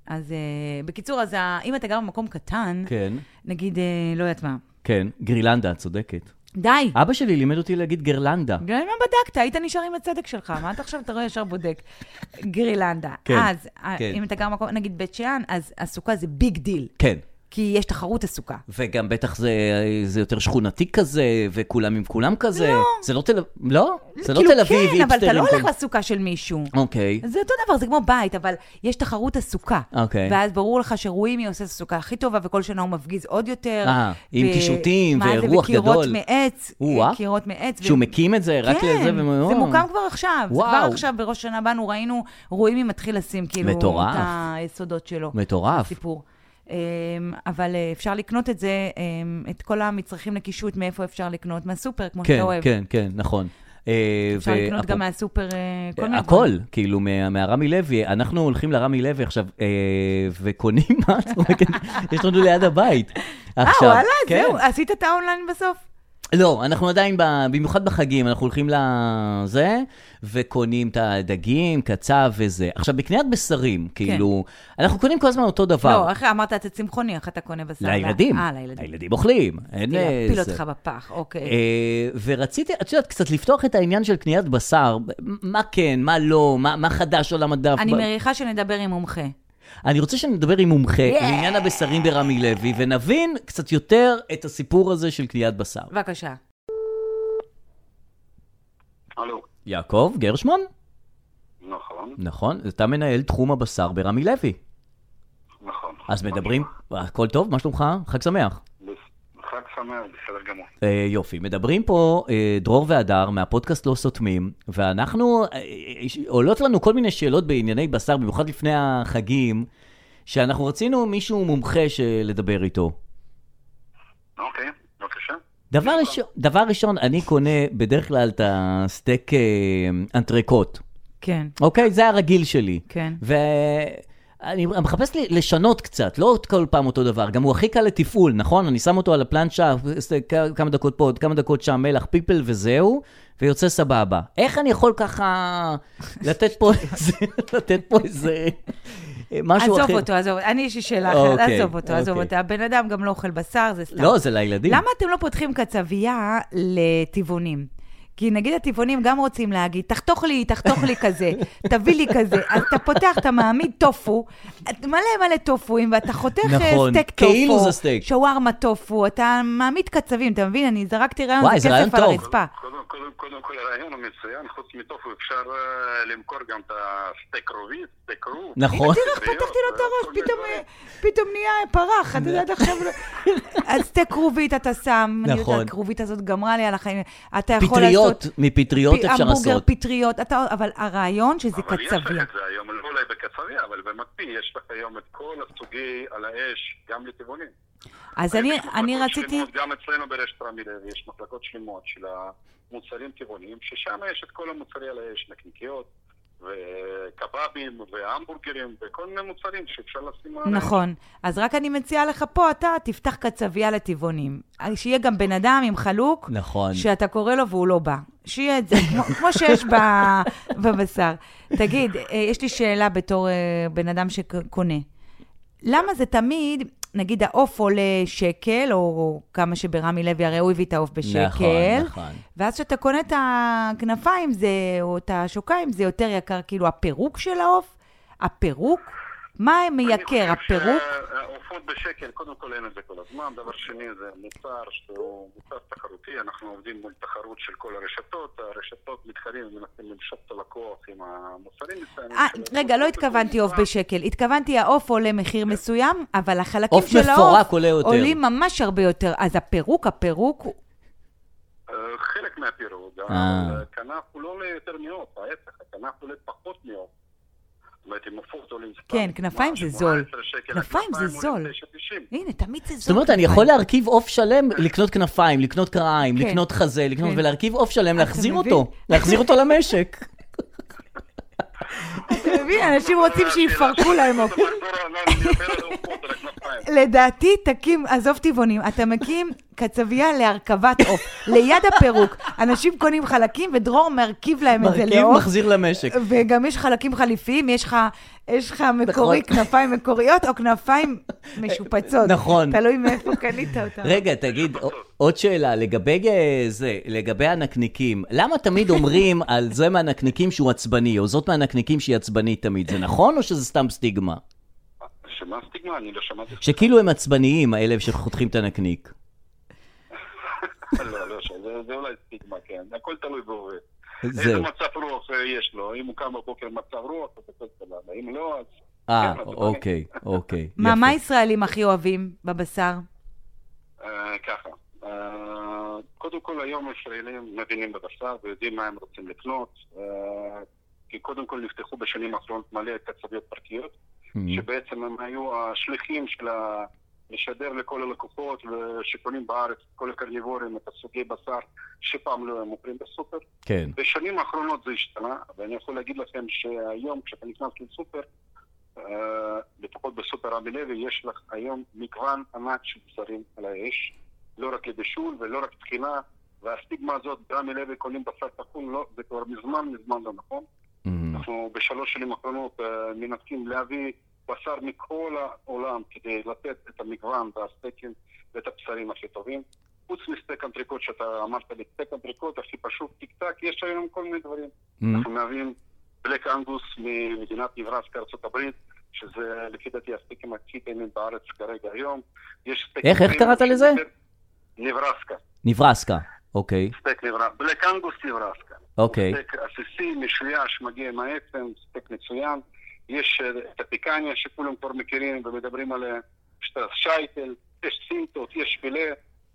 Speaker 3: אז אה, בקיצור, אז ה- אם אתה גר במקום קטן,
Speaker 2: כן,
Speaker 3: נגיד, אה, לא יודעת מה,
Speaker 2: כן, גרילנדה, את צודקת.
Speaker 3: די,
Speaker 2: אבא שלי לימד אותי להגיד גרלנדה.
Speaker 3: גם אם לא בדקת, היית נשאר עם הצדק שלך, מה אתה עכשיו, אתה רואה ישר בודק. גרילנדה.
Speaker 2: כן,
Speaker 3: אז, אה,
Speaker 2: כן.
Speaker 3: אם אתה גר במקום, נגיד בית שאן, אז הסוכה זה ביג דיל.
Speaker 2: כן.
Speaker 3: כי יש תחרות עסוקה.
Speaker 2: וגם בטח זה, זה יותר שכונתי כזה, וכולם עם כולם כזה.
Speaker 3: לא.
Speaker 2: זה לא תל אביב, לא? זה לא
Speaker 3: כאילו,
Speaker 2: תל אביב,
Speaker 3: כן, אבל אתה לא
Speaker 2: היפסטרים
Speaker 3: הולך
Speaker 2: כל-
Speaker 3: לסוכה של מישהו.
Speaker 2: אוקיי.
Speaker 3: זה אותו דבר, זה כמו בית, אבל יש תחרות עסוקה.
Speaker 2: אוקיי.
Speaker 3: ואז ברור לך שרואימי עושה את הסוכה הכי טובה, וכל שנה הוא מפגיז עוד יותר.
Speaker 2: אה, עם קישוטים
Speaker 3: מה זה,
Speaker 2: ורוח
Speaker 3: וקירות
Speaker 2: גדול.
Speaker 3: מעץ.
Speaker 2: או-אה.
Speaker 3: קירות מעץ. ו-
Speaker 2: שהוא מקים את זה רק
Speaker 3: כן,
Speaker 2: לזה, והם-
Speaker 3: זה
Speaker 2: וואו.
Speaker 3: מוקם כבר עכשיו. זה כבר
Speaker 2: וואו.
Speaker 3: עכשיו, בראש שנה באנו, ראינו, רואימי מתחיל לשים כאילו
Speaker 2: מטורף.
Speaker 3: את היסודות שלו.
Speaker 2: מטורף.
Speaker 3: סיפור. אמ, אבל אה, אפשר לקנות את זה, אמ, את כל המצרכים לקישוט, מאיפה אפשר לקנות? מהסופר, כמו
Speaker 2: כן,
Speaker 3: שאתה אוהב.
Speaker 2: כן, כן, נכון. אה,
Speaker 3: לא אפשר לקנות
Speaker 2: ואפו-
Speaker 3: גם מהסופר אה, כל מיני
Speaker 2: הכל,
Speaker 3: דברים.
Speaker 2: כאילו, מה- מהרמי לוי. אנחנו הולכים לרמי לוי עכשיו, אה, וקונים מה? את צוחקת? יש לנו ליד הבית.
Speaker 3: אה,
Speaker 2: עכשיו,
Speaker 3: וואלה,
Speaker 2: כן.
Speaker 3: זהו, עשית את האונליין בסוף?
Speaker 2: לא, אנחנו עדיין, ב... במיוחד בחגים, אנחנו הולכים לזה, וקונים את הדגים, קצב וזה. עכשיו, בקניית בשרים, כאילו, אנחנו קונים כל הזמן אותו דבר.
Speaker 3: כן. לא, איך אמרת, אתה צמחוני, איך אתה קונה בשר?
Speaker 2: לילדים.
Speaker 3: אה, לילדים.
Speaker 2: הילדים אוכלים. אין
Speaker 3: רציתי להפיל
Speaker 2: איזה-
Speaker 3: אותך בפח, אוקיי.
Speaker 2: אה, ורציתי, את יודעת, קצת לפתוח את העניין של קניית בשר, מה כן, מה לא, מה, מה חדש על המדף.
Speaker 3: אני
Speaker 2: מה-
Speaker 3: מריחה שנדבר עם מומחה.
Speaker 2: אני רוצה שנדבר עם מומחה
Speaker 3: Yeah.
Speaker 2: לעניין הבשרים ברמי לוי, ונבין קצת יותר את הסיפור הזה של קניית בשר.
Speaker 3: בבקשה.
Speaker 4: הלו,
Speaker 2: יעקב גרשמן?
Speaker 4: נכון,
Speaker 2: נכון, אתה מנהל תחום הבשר ברמי לוי.
Speaker 4: נכון.
Speaker 2: אז מדברים, הכל טוב, מה שלומך? חג שמח.
Speaker 4: בס- חג שמח, בסדר גמור.
Speaker 2: אה, יופי, מדברים פה אה, דרור והדר מהפודקאסט לא סותמים, ואנחנו, אה, אה, עולות לנו כל מיני שאלות בענייני בשר, במיוחד לפני החגים, שאנחנו רצינו מישהו מומחה לדבר איתו.
Speaker 4: אוקיי, בבקשה.
Speaker 2: דבר ראשון, דבר ראשון, אני קונה בדרך כלל את הסטייק אה, אנטריקוט,
Speaker 3: כן,
Speaker 2: אוקיי? זה הרגיל שלי.
Speaker 3: כן.
Speaker 2: ואני מחפש לי לשנות קצת, לא עוד כל פעם אותו דבר, גם הוא הכי קל לתפעול, נכון? אני שם אותו על הפלנצ'ה, זה כ- כמה דקות פה, עוד כמה דקות שם, מלח פיפל וזהו, ויוצא סבבה. איך אני יכול ככה לתת פה איזה, לתת פה איזה משהו אחר?
Speaker 3: עזוב אותו, עזוב, אני יש לי שאלה אחרת,
Speaker 2: אוקיי,
Speaker 3: עזוב אותו, עזוב
Speaker 2: אוקיי.
Speaker 3: אותו. הבן אדם גם לא אוכל בשר, זה סתם.
Speaker 2: לא, זה לילדים.
Speaker 3: למה אתם לא פותחים קצבייה לטבעונים? כי נגיד הטבעונים גם רוצים להגיד, תחתוך לי, תחתוך לי כזה, תביא לי כזה. אז אתה פותח, אתה מעמיד טופו, את- מלא מלא טופואים, ואתה חותך אה,
Speaker 2: נכון,
Speaker 3: סטייק טופו,
Speaker 2: כאילו זה סטייק.
Speaker 3: שווארמה טופו, אתה מעמיד קצבים, אתה מבין? אני זרקתי רעיון,
Speaker 2: וואי,
Speaker 3: זה
Speaker 2: זה
Speaker 3: כסף
Speaker 2: רעיון
Speaker 3: על
Speaker 2: טוב.
Speaker 3: הרצפה.
Speaker 4: קודם, קודם, קודם כל הרעיון הוא מצוין, חוץ מטופו אפשר אה, למכור גם את הסטייק רובי, סטייק רוב.
Speaker 2: נכון.
Speaker 3: תראה איך פתחתי לו את הראש, פתאום, אה, פתאום נהיה פרח,
Speaker 2: נכון.
Speaker 3: את יודעת עכשיו... לא- אז שתי כרובית אתה שם, אני
Speaker 2: נכון.
Speaker 3: יודעת, הכרובית הזאת גמרה לי על החיים. אתה יכול לעשות...
Speaker 2: פטריות, מפטריות
Speaker 3: פי-
Speaker 2: אפשר
Speaker 3: המבורגר,
Speaker 2: לעשות.
Speaker 3: פטריות, אתה- אבל הרעיון שזה
Speaker 4: אבל יש לך
Speaker 3: קצביה.
Speaker 4: את זה היום, לא אולי בקצביה, אבל במקפיא יש לך היום את כל הסוגי על האש, גם לטבעונים.
Speaker 3: אז אני-
Speaker 4: יש
Speaker 3: אני
Speaker 4: מחלקות
Speaker 3: רציתי...
Speaker 4: שלמות, גם אצלנו ברשת רמי לוי יש מחלקות שלמות של המוצרים טבעוניים, ששם יש את כל המוצרי על האש, נקניקיות, וקבבים, והמבורגרים, וכל מיני מוצרים שאפשר לשים עליהם.
Speaker 3: נכון. אז רק אני מציעה לך פה, אתה תפתח קצבייה לטבעונים. שיהיה גם בן אדם עם חלוק,
Speaker 2: נכון.
Speaker 3: שאתה קורא לו והוא לא בא. שיהיה את זה, כמו, כמו שיש ב, בבשר. תגיד, אה, יש לי שאלה בתור אה, בן אדם שקונה. למה זה תמיד, נגיד העוף עולה שקל, או כמה שברמי לוי, הרי הוא הביא את העוף בשקל.
Speaker 2: נכון, נכון.
Speaker 3: ואז כשאתה קונה את הכנפיים זה, או את השוקיים, זה יותר יקר, כאילו הפירוק של העוף, הפירוק, מה מייקר, הפירוק?
Speaker 4: עופות בשקל, קודם כל אין את זה כל הזמן. דבר שני, זה מוצר שהוא מוצר תחרותי, אנחנו עובדים מול תחרות של כל הרשתות, הרשתות מתחרים ומנסים למשוך את הלקוח עם המוצרים מסוימים.
Speaker 3: אה,
Speaker 4: שלהם.
Speaker 3: רגע, לא התכוונתי עוף בשקל, התכוונתי העוף עולה מחיר מסוים, אבל החלקים
Speaker 2: עוף
Speaker 3: של
Speaker 2: מפורק
Speaker 3: העוף
Speaker 2: עולה יותר.
Speaker 3: עולים ממש הרבה יותר. אז הפירוק, הפירוק, הוא-
Speaker 4: אה, חלק מהפירוד,
Speaker 2: אה.
Speaker 4: הכנף הוא לא עולה יותר מעוף, ההפך, הכנף עולה פחות מעוף. זאת אומרת, אם עופות עולים סתם.
Speaker 3: כן, כנפיים זה זול.
Speaker 4: 18 שקל,
Speaker 3: כנפיים זה
Speaker 4: הכנפיים עולים
Speaker 3: זול.
Speaker 4: 9.90.
Speaker 3: הנה, תמיד זה זול.
Speaker 2: זאת אומרת, אני יכול להרכיב עוף שלם, לקנות כנפיים, לקנות קרעיים,
Speaker 3: אוקיי. כן.
Speaker 2: לקנות חזה, לקנות,
Speaker 3: כן.
Speaker 2: ולהרכיב עוף שלם, להחזיר
Speaker 3: מבין?
Speaker 2: אותו, להחזיר אותו למשק.
Speaker 3: אתה מבין, אנשים רוצים שיפרקו להם עוף.
Speaker 4: לא, לא, לא, אני מדבר על עופות, על הכנפיים.
Speaker 3: לדעתי, תקים, עזוב טבעונים, אתה מקים קצבייה להרכבת עוף, ליד הפירוק. אנשים קונים חלקים, ודרור מרכיב להם את זה לא-
Speaker 2: מרכיב
Speaker 3: לעוף.
Speaker 2: מחזיר למשק.
Speaker 3: וגם יש חלקים חליפיים, יש לך, יש לך מקורי,
Speaker 2: נכון.
Speaker 3: כנפיים מקוריות, או כנפיים משופצות.
Speaker 2: נכון.
Speaker 3: תלוי מאיפה קנית אותם.
Speaker 2: רגע, תגיד, עוד שאלה, לגבי אה, זה, לגבי הנקניקים, למה תמיד אומרים על זה מהנקניקים שהוא עצבני, או זאת מהנקניקים שהיא עצבנית תמיד? זה נכון או שזה סתם סטיגמה?
Speaker 4: שמה הסטיגמה? אני לא שמעתי...
Speaker 2: שכאילו הם עצבניים, האלה שחותכים את הנקניק.
Speaker 4: לא, לא, שם, זה- זה אולי סטיגמה, כן. הכל תלוי בהורה. איזה
Speaker 2: זהו.
Speaker 4: מצב רוח אה, יש לו? אם הוא קם בבוקר במצב רוח, אז הכל סבבה. אם לא, אז...
Speaker 2: אה,
Speaker 4: כן, אז
Speaker 2: אוקיי, אוקיי.
Speaker 3: מה,
Speaker 2: יפה.
Speaker 3: מה ישראלים הכי אוהבים בבשר?
Speaker 4: אה, ככה. אה, קודם כל, היום ישראלים מבינים בבשר ויודעים מה הם רוצים לקנות. אה, כי קודם כל נפתחו בשנים האחרונות מלא קצביות פרטיות,
Speaker 2: Mm.
Speaker 4: שבעצם הם היו השליחים של ה... לשדר לכל הלקוחות שקונים בארץ, כל הקרניבורים, את הסוגי בשר שפעם לא הם מוכרים בסופר.
Speaker 2: כן.
Speaker 4: בשנים האחרונות זה השתנה, ואני יכול להגיד לכם שהיום כשאתה נכנס לסופר, אה, לפחות בסופר רמי לוי, יש לך היום מגוון ענק של בשרים על האש, לא רק לבישול ולא רק טחינה, והסטיגמה הזאת, ברמי לוי קונים בשר טחון, לא, זה כבר מזמן מזמן לא נכון.
Speaker 2: Mm.
Speaker 4: אנחנו בשלוש שנים האחרונות אה, מנסים להביא בשר מכל העולם כדי לתת את המגוון והסטייקים ואת הבשרים הכי טובים. חוץ מסטייק אנטריקוט שאתה אמרת לי, סטייק אנטריקוט הכי פשוט, טיק טק, יש היום כל מיני דברים.
Speaker 2: Mm.
Speaker 4: אנחנו מהווים בלק אנגוס ממדינת נברסקה, ארצות הברית, שזה לפי דעתי הסטייקים הכי טעימים בארץ כרגע היום. יש סטייקים
Speaker 2: איך- איך קראת
Speaker 4: טעימים
Speaker 2: לזה?
Speaker 4: יותר- נברסקה,
Speaker 2: נברסקה, אוקיי,
Speaker 4: סטייק נברסקה, בלק אנגוס נברסקה.
Speaker 2: אוקיי.
Speaker 4: סטייק עסיסי, משויש, מגיע עם העצם, סטייק מצוין. יש אה, את הפיקניה שכולם כבר מכירים ומדברים עליה, יש את השייטל, יש סינטות, יש פילה,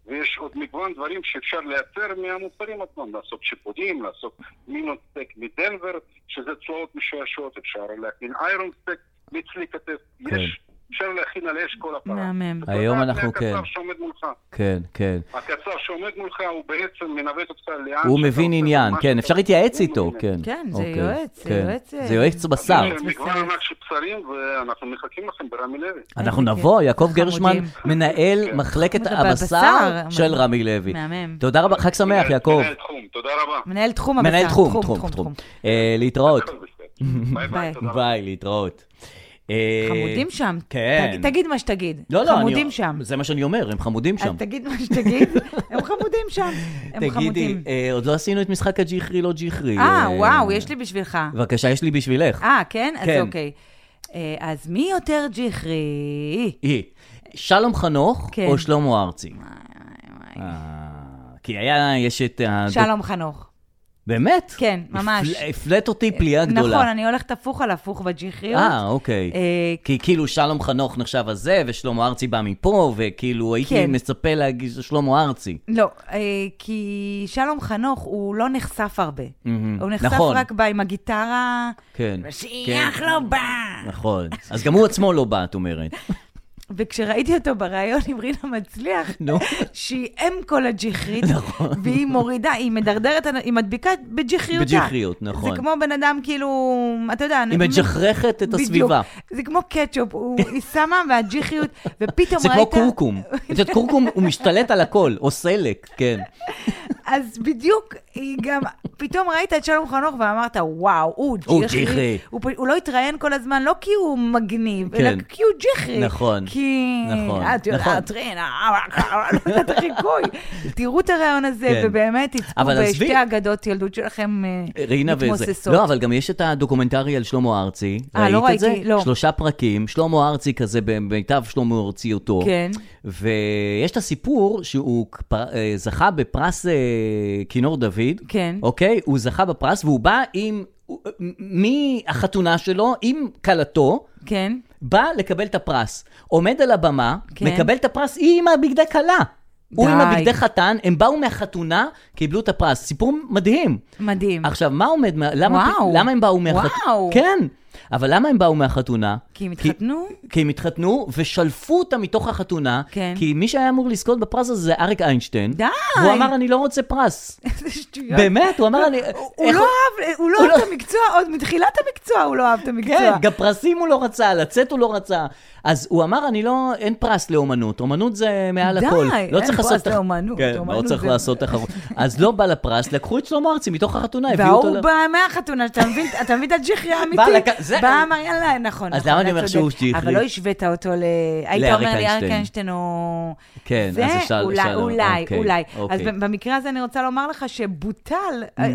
Speaker 4: ויש עוד מגוון דברים שאפשר לייצר מהמוצרים עצמם, לעשות שיפודים, לעשות מינות סטייק מדנבר, שזה צורות משוישות, אפשר להכין איירון סטייק מצלי כתף,
Speaker 2: כן.
Speaker 4: יש, אפשר להכין על אש כל הפרה.
Speaker 3: מהמם.
Speaker 4: אתה
Speaker 2: היום
Speaker 4: יודע,
Speaker 2: אנחנו-
Speaker 4: הקצר
Speaker 2: כן.
Speaker 4: שעומד מולך.
Speaker 2: כן, כן.
Speaker 4: הקצר שעומד מולך הוא בעצם מנווט אותך לאן...
Speaker 2: הוא
Speaker 4: אה, שאתה
Speaker 2: מבין
Speaker 4: רוצה
Speaker 2: עניין,
Speaker 4: ומה
Speaker 2: כן,
Speaker 4: שאתה
Speaker 2: אפשר
Speaker 4: רוצה.
Speaker 2: להתייעץ
Speaker 4: הוא
Speaker 2: איתו,
Speaker 4: מבין.
Speaker 2: כן.
Speaker 3: כן, זה
Speaker 2: אוקיי,
Speaker 3: יועץ, זה
Speaker 2: כן.
Speaker 3: יועץ, אה,
Speaker 2: זה יועץ בשר.
Speaker 4: יש מגוון ענק של בשרים, ואנחנו מחכים לכם ברמי לוי.
Speaker 2: אנחנו
Speaker 3: איזה כיף.
Speaker 2: נבוא, יעקב
Speaker 3: חמודים.
Speaker 2: גרשמן, מנהל
Speaker 4: כן.
Speaker 2: מחלקת
Speaker 3: בבשר,
Speaker 2: הבשר
Speaker 3: אמרנו.
Speaker 2: של רמי לוי.
Speaker 3: מהמם.
Speaker 2: תודה רבה, חג שמח,
Speaker 4: מנהל-
Speaker 2: יעקב.
Speaker 4: מנהל תחום, תודה רבה.
Speaker 3: מנהל תחום הבשר.
Speaker 2: מנהל תחום, תחום, תחום. אה, להתראות.
Speaker 4: הכל בסדר.
Speaker 3: ביי.
Speaker 4: ביי ביי, תודה רבה.
Speaker 2: ביי, להתראות. אה,
Speaker 3: חמודים שם.
Speaker 2: כן.
Speaker 3: תגיד- תגיד מה שתגיד.
Speaker 2: לא, לא, אני-
Speaker 3: חמודים שם.
Speaker 2: זה מה שאני אומר, הם חמודים
Speaker 3: אז
Speaker 2: שם.
Speaker 3: תגיד מה שתגיד, הם חמודים שם. הם
Speaker 2: תגידי,
Speaker 3: חמודים.
Speaker 2: אה, עוד לא עשינו את משחק הג'יחרי לא ג'יחרי.
Speaker 3: אה,
Speaker 2: אה,
Speaker 3: וואו, יש לי בשבילך.
Speaker 2: בבקשה, יש לי בשבילך.
Speaker 3: אה, כן? אז
Speaker 2: כן.
Speaker 3: אוקיי. אה, אז מי יותר ג'יחרי?
Speaker 2: היא. שלום חנוך
Speaker 3: כן.
Speaker 2: או שלמה ארצי?
Speaker 3: וואי, וואי.
Speaker 2: אה, כי היה, יש את... הדוק-
Speaker 3: שלום חנוך.
Speaker 2: באמת?
Speaker 3: כן, ממש.
Speaker 2: הפל- הפלאת אותי פליאה גדולה.
Speaker 3: נכון, אני הולכת הפוך על הפוך בג'יחריות.
Speaker 2: אה, אוקיי.
Speaker 3: אה,
Speaker 2: כי כאילו שלום חנוך נחשב הזה, ושלמה ארצי בא מפה, וכאילו הייתי
Speaker 3: כן.
Speaker 2: מצפה להגיד שלמה ארצי.
Speaker 3: לא, אה, כי שלום חנוך, הוא לא נחשף הרבה.
Speaker 2: מהמם.
Speaker 3: הוא נחשף
Speaker 2: נכון.
Speaker 3: רק ב- עם הגיטרה,
Speaker 2: כן.
Speaker 3: ושיח
Speaker 2: כן.
Speaker 3: לא בא.
Speaker 2: נכון. אז גם הוא עצמו לא בא, את אומרת.
Speaker 3: וכשראיתי אותו בריאיון עם רינה מצליח,
Speaker 2: נו. נכון.
Speaker 3: שהיא אם כל הג'יחרית, והיא מורידה, היא מדרדרת, היא מדביקה בג'יחריותה.
Speaker 2: בג'יחריות, נכון.
Speaker 3: זה כמו בן אדם כאילו, אתה יודע...
Speaker 2: היא מג'חרכת את הסביבה.
Speaker 3: בדיוק, זה כמו קטשופ, הוא- היא שמה מהג'יחריות, ופתאום
Speaker 2: זה
Speaker 3: ראית...
Speaker 2: כמו כורכום. את יודעת, כורכום הוא משתלט על הכל, או סלק, כן.
Speaker 3: אז בדיוק, היא גם, פתאום ראית את שלום חנוך ואמרת, וואו, הוא
Speaker 2: הוא ג'יחרי."
Speaker 3: ג'יחרי. הוא, פ- הוא לא התראיין כל הזמן, לא כי הוא מגניב,
Speaker 2: כן.
Speaker 3: אלא כי הוא ג'יחרי.
Speaker 2: נכון,
Speaker 3: כי...
Speaker 2: נכון,
Speaker 3: את
Speaker 2: נכון.
Speaker 3: יודעת, רינה, לא יודעת החיקוי. תראו את הראיון הזה,
Speaker 2: כן.
Speaker 3: ובאמת, תצפו
Speaker 2: אבל עזבי.
Speaker 3: בשתי האגדות ילדות שלכם אה,
Speaker 2: רינה וזה.
Speaker 3: מתמוססות.
Speaker 2: לא, אבל גם יש את הדוקומנטרי על שלמה ארצי.
Speaker 3: אה, לא
Speaker 2: ראית את זה?
Speaker 3: ראיתי, לא.
Speaker 2: שלושה פרקים, שלמה ארצי כזה במיטב שלמה ארציותו.
Speaker 3: כן.
Speaker 2: ויש את הסיפור שהוא פ- אה, זכה בפרס אה, כינור דוד.
Speaker 3: כן.
Speaker 2: אוקיי? הוא זכה בפרס והוא בא עם... הוא- מהחתונה שלו, עם כלתו,
Speaker 3: כן.
Speaker 2: בא לקבל את הפרס. עומד על הבמה,
Speaker 3: כן.
Speaker 2: מקבל את הפרס, היא עם הבגדי כלה. הוא עם
Speaker 3: די.
Speaker 2: הבגדי חתן, הם באו מהחתונה, קיבלו את הפרס. סיפור מדהים.
Speaker 3: מדהים.
Speaker 2: עכשיו, מה עומד, מה- למה,
Speaker 3: וואו.
Speaker 2: למה הם באו מהחתונה?
Speaker 3: וואו.
Speaker 2: כן, אבל למה הם באו מהחתונה?
Speaker 3: כי הם התחתנו?
Speaker 2: כי הם התחתנו ושלפו אותם מתוך החתונה,
Speaker 3: כן.
Speaker 2: כי מי שהיה אמור לזכות בפרס הזה זה אריק איינשטיין.
Speaker 3: די.
Speaker 2: הוא אמר, אני לא רוצה פרס.
Speaker 3: איזה שטויות.
Speaker 2: באמת, הוא אמר, אני...
Speaker 3: הוא
Speaker 2: איך-
Speaker 3: לא אהב, הוא לא
Speaker 2: הוא
Speaker 3: אהב
Speaker 2: לא-
Speaker 3: את המקצוע, עוד מתחילת המקצוע הוא לא אהב את המקצוע.
Speaker 2: כן, גם פרסים הוא לא רצה, לצאת הוא לא רצה. אז הוא אמר, אני לא, אין פרס לאומנות, אומנות זה מעל
Speaker 3: די,
Speaker 2: הכל. לא
Speaker 3: אין
Speaker 2: צריך
Speaker 3: פרס
Speaker 2: לעשות תח-
Speaker 3: לאומנות,
Speaker 2: כן,
Speaker 3: אומנות
Speaker 2: לא צריך
Speaker 3: זה-
Speaker 2: לעשות תחרות. אז לא בא לפרס, לקחו את שלמה ארצי מתוך החתונה, הביאו אותו ל...
Speaker 3: וההוא בא מהחתונה, שאתה מבין, אתה מבין את הג'יחרי האמיתי?
Speaker 2: בא לקח- זה-
Speaker 3: בא, אמר, יאללה, נכון.
Speaker 2: אז
Speaker 3: נכון,
Speaker 2: למה אני
Speaker 3: אתה
Speaker 2: אומר
Speaker 3: צודק."
Speaker 2: שהוא ג'יחרי?
Speaker 3: אבל לא השווית אותו ל... היית
Speaker 2: לאריק
Speaker 3: אומר לי, אריק
Speaker 2: איינשטיין."
Speaker 3: איינשטיין הוא...
Speaker 2: כן,
Speaker 3: זה,
Speaker 2: אז אפשר-
Speaker 3: אולי,
Speaker 2: אפשר-
Speaker 3: אולי,
Speaker 2: אוקיי,
Speaker 3: אולי. אז
Speaker 2: אוקיי.
Speaker 3: ב- במקרה הזה אני רוצה לומר לך שבוטל,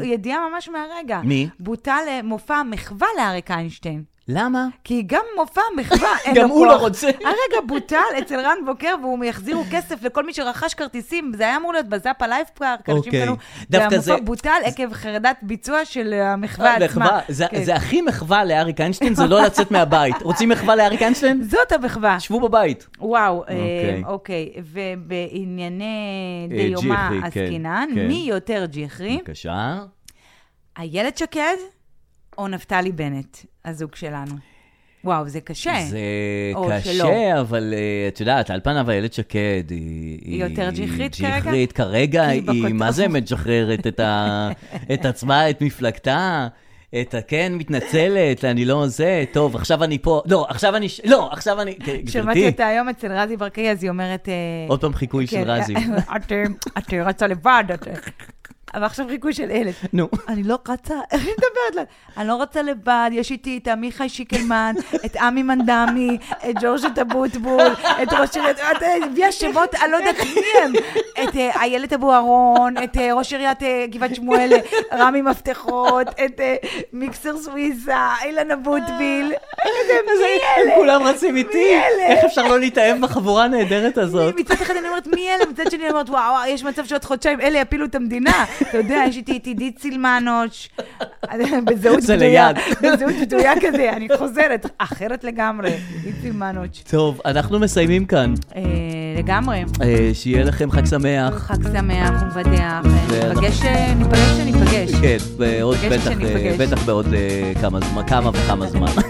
Speaker 3: ידיעה ממש מהרגע.
Speaker 2: מי?
Speaker 3: בוטל אה, מופע מחווה לאריק איינשטיין.
Speaker 2: למה?
Speaker 3: כי גם מופע מחווה אין לו
Speaker 2: גם
Speaker 3: כוח.
Speaker 2: הוא לא רוצה.
Speaker 3: הרגע בוטל אצל רן בוקר, והוא יחזירו כסף לכל מי שרכש כרטיסים. זה היה אמור להיות בזאפה לייב פארק, אנשים
Speaker 2: אוקיי.
Speaker 3: קנו.
Speaker 2: דווקא זה- אה,
Speaker 3: והמופע בוטל עקב חרדת ביצוע של המחווה
Speaker 2: מחווה.
Speaker 3: עצמה.
Speaker 2: זה-
Speaker 3: כן.
Speaker 2: זה הכי מחווה לאריק איינשטיין, זה לא לצאת מהבית. רוצים מחווה לאריק איינשטיין?
Speaker 3: זאת המחווה.
Speaker 2: שבו בבית.
Speaker 3: כן. וואו,
Speaker 2: אוקיי.
Speaker 3: אה, אוקיי. ובענייני
Speaker 2: אה,
Speaker 3: דיומא
Speaker 2: ג'יחרי, כן,
Speaker 3: עסקינן,
Speaker 2: כן. אוקיי.
Speaker 3: מי יותר ג'יחרי?
Speaker 2: בבקשה.
Speaker 3: איילת שקד או נפתלי בנט, הזוג שלנו? וואו, זה קשה.
Speaker 2: זה
Speaker 3: כן. או
Speaker 2: קשה,
Speaker 3: שלא.
Speaker 2: אבל אה, את יודעת, על פניו איילת שקד היא...
Speaker 3: היא יותר ג'יחרית כרגע?
Speaker 2: ג'יחרית כרגע,
Speaker 3: כי
Speaker 2: היא,
Speaker 3: היא בכותרות.
Speaker 2: מה זה משחררת את, ה... את עצמה, את מפלגתה? את הכן מתנצלת, אני לא זה, טוב, עכשיו אני פה, לא, עכשיו אני, ש- לא, עכשיו אני,
Speaker 3: שמעתי
Speaker 2: גברתי,
Speaker 3: אותה היום אצל רזי ברקאי, אז היא אומרת... אה,
Speaker 2: עוד פעם חיקוי של
Speaker 3: כן,
Speaker 2: רזי.
Speaker 3: את, את אה, רצה לבד, את... אבל עכשיו חיקוי של אילת.
Speaker 2: נו.
Speaker 3: אני לא רצה, איך היא מדברת לה? אני לא רצה לבד, יש איתי את עמיחי שיקלמן, את עמי מנדמי, את ג'ורג'ט אבוטבול, את ראש עיריית, את אה, הביאה שמות, אני לא יודעת מי הם, את אה, איילת אבו אהרון, את אה, ראש עיריית אה, גבעת שמואל, אה, רמי מפתחות, את אה, מיקסר סוויסה, אילן אבוטביל. איזה מי אלה?
Speaker 2: כולם רצים איתי,
Speaker 3: אלה?
Speaker 2: איך אפשר לא להתאהב בחבורה הנהדרת הזאת?
Speaker 3: מצד אחד אני אומרת, מי אלה? מצד שני אני אומרת, וואו, וואו, יש מצב שעוד חודשיים אלה יפילו את המדינה. אתה יודע, יש איתי את עידית סילמנוש, בזהות
Speaker 2: זה
Speaker 3: בדויה,
Speaker 2: ליד.
Speaker 3: בזהות בדויה כזה, אני חוזרת, אחרת לגמרי, עידית סילמנוש.
Speaker 2: טוב, אנחנו מסיימים כאן,
Speaker 3: אה, לגמרי.
Speaker 2: אה, שיהיה לכם חג שמח,
Speaker 3: חג שמח ומבדח, אה,
Speaker 2: ואנחנו-
Speaker 3: ניפגש, אה, ניפגש שניפגש.
Speaker 2: כן, בעוד
Speaker 3: נפגש
Speaker 2: בטח, אה,
Speaker 3: כשניפגש.
Speaker 2: בטח בעוד אה, כמה זמן, כמה וכמה זמן.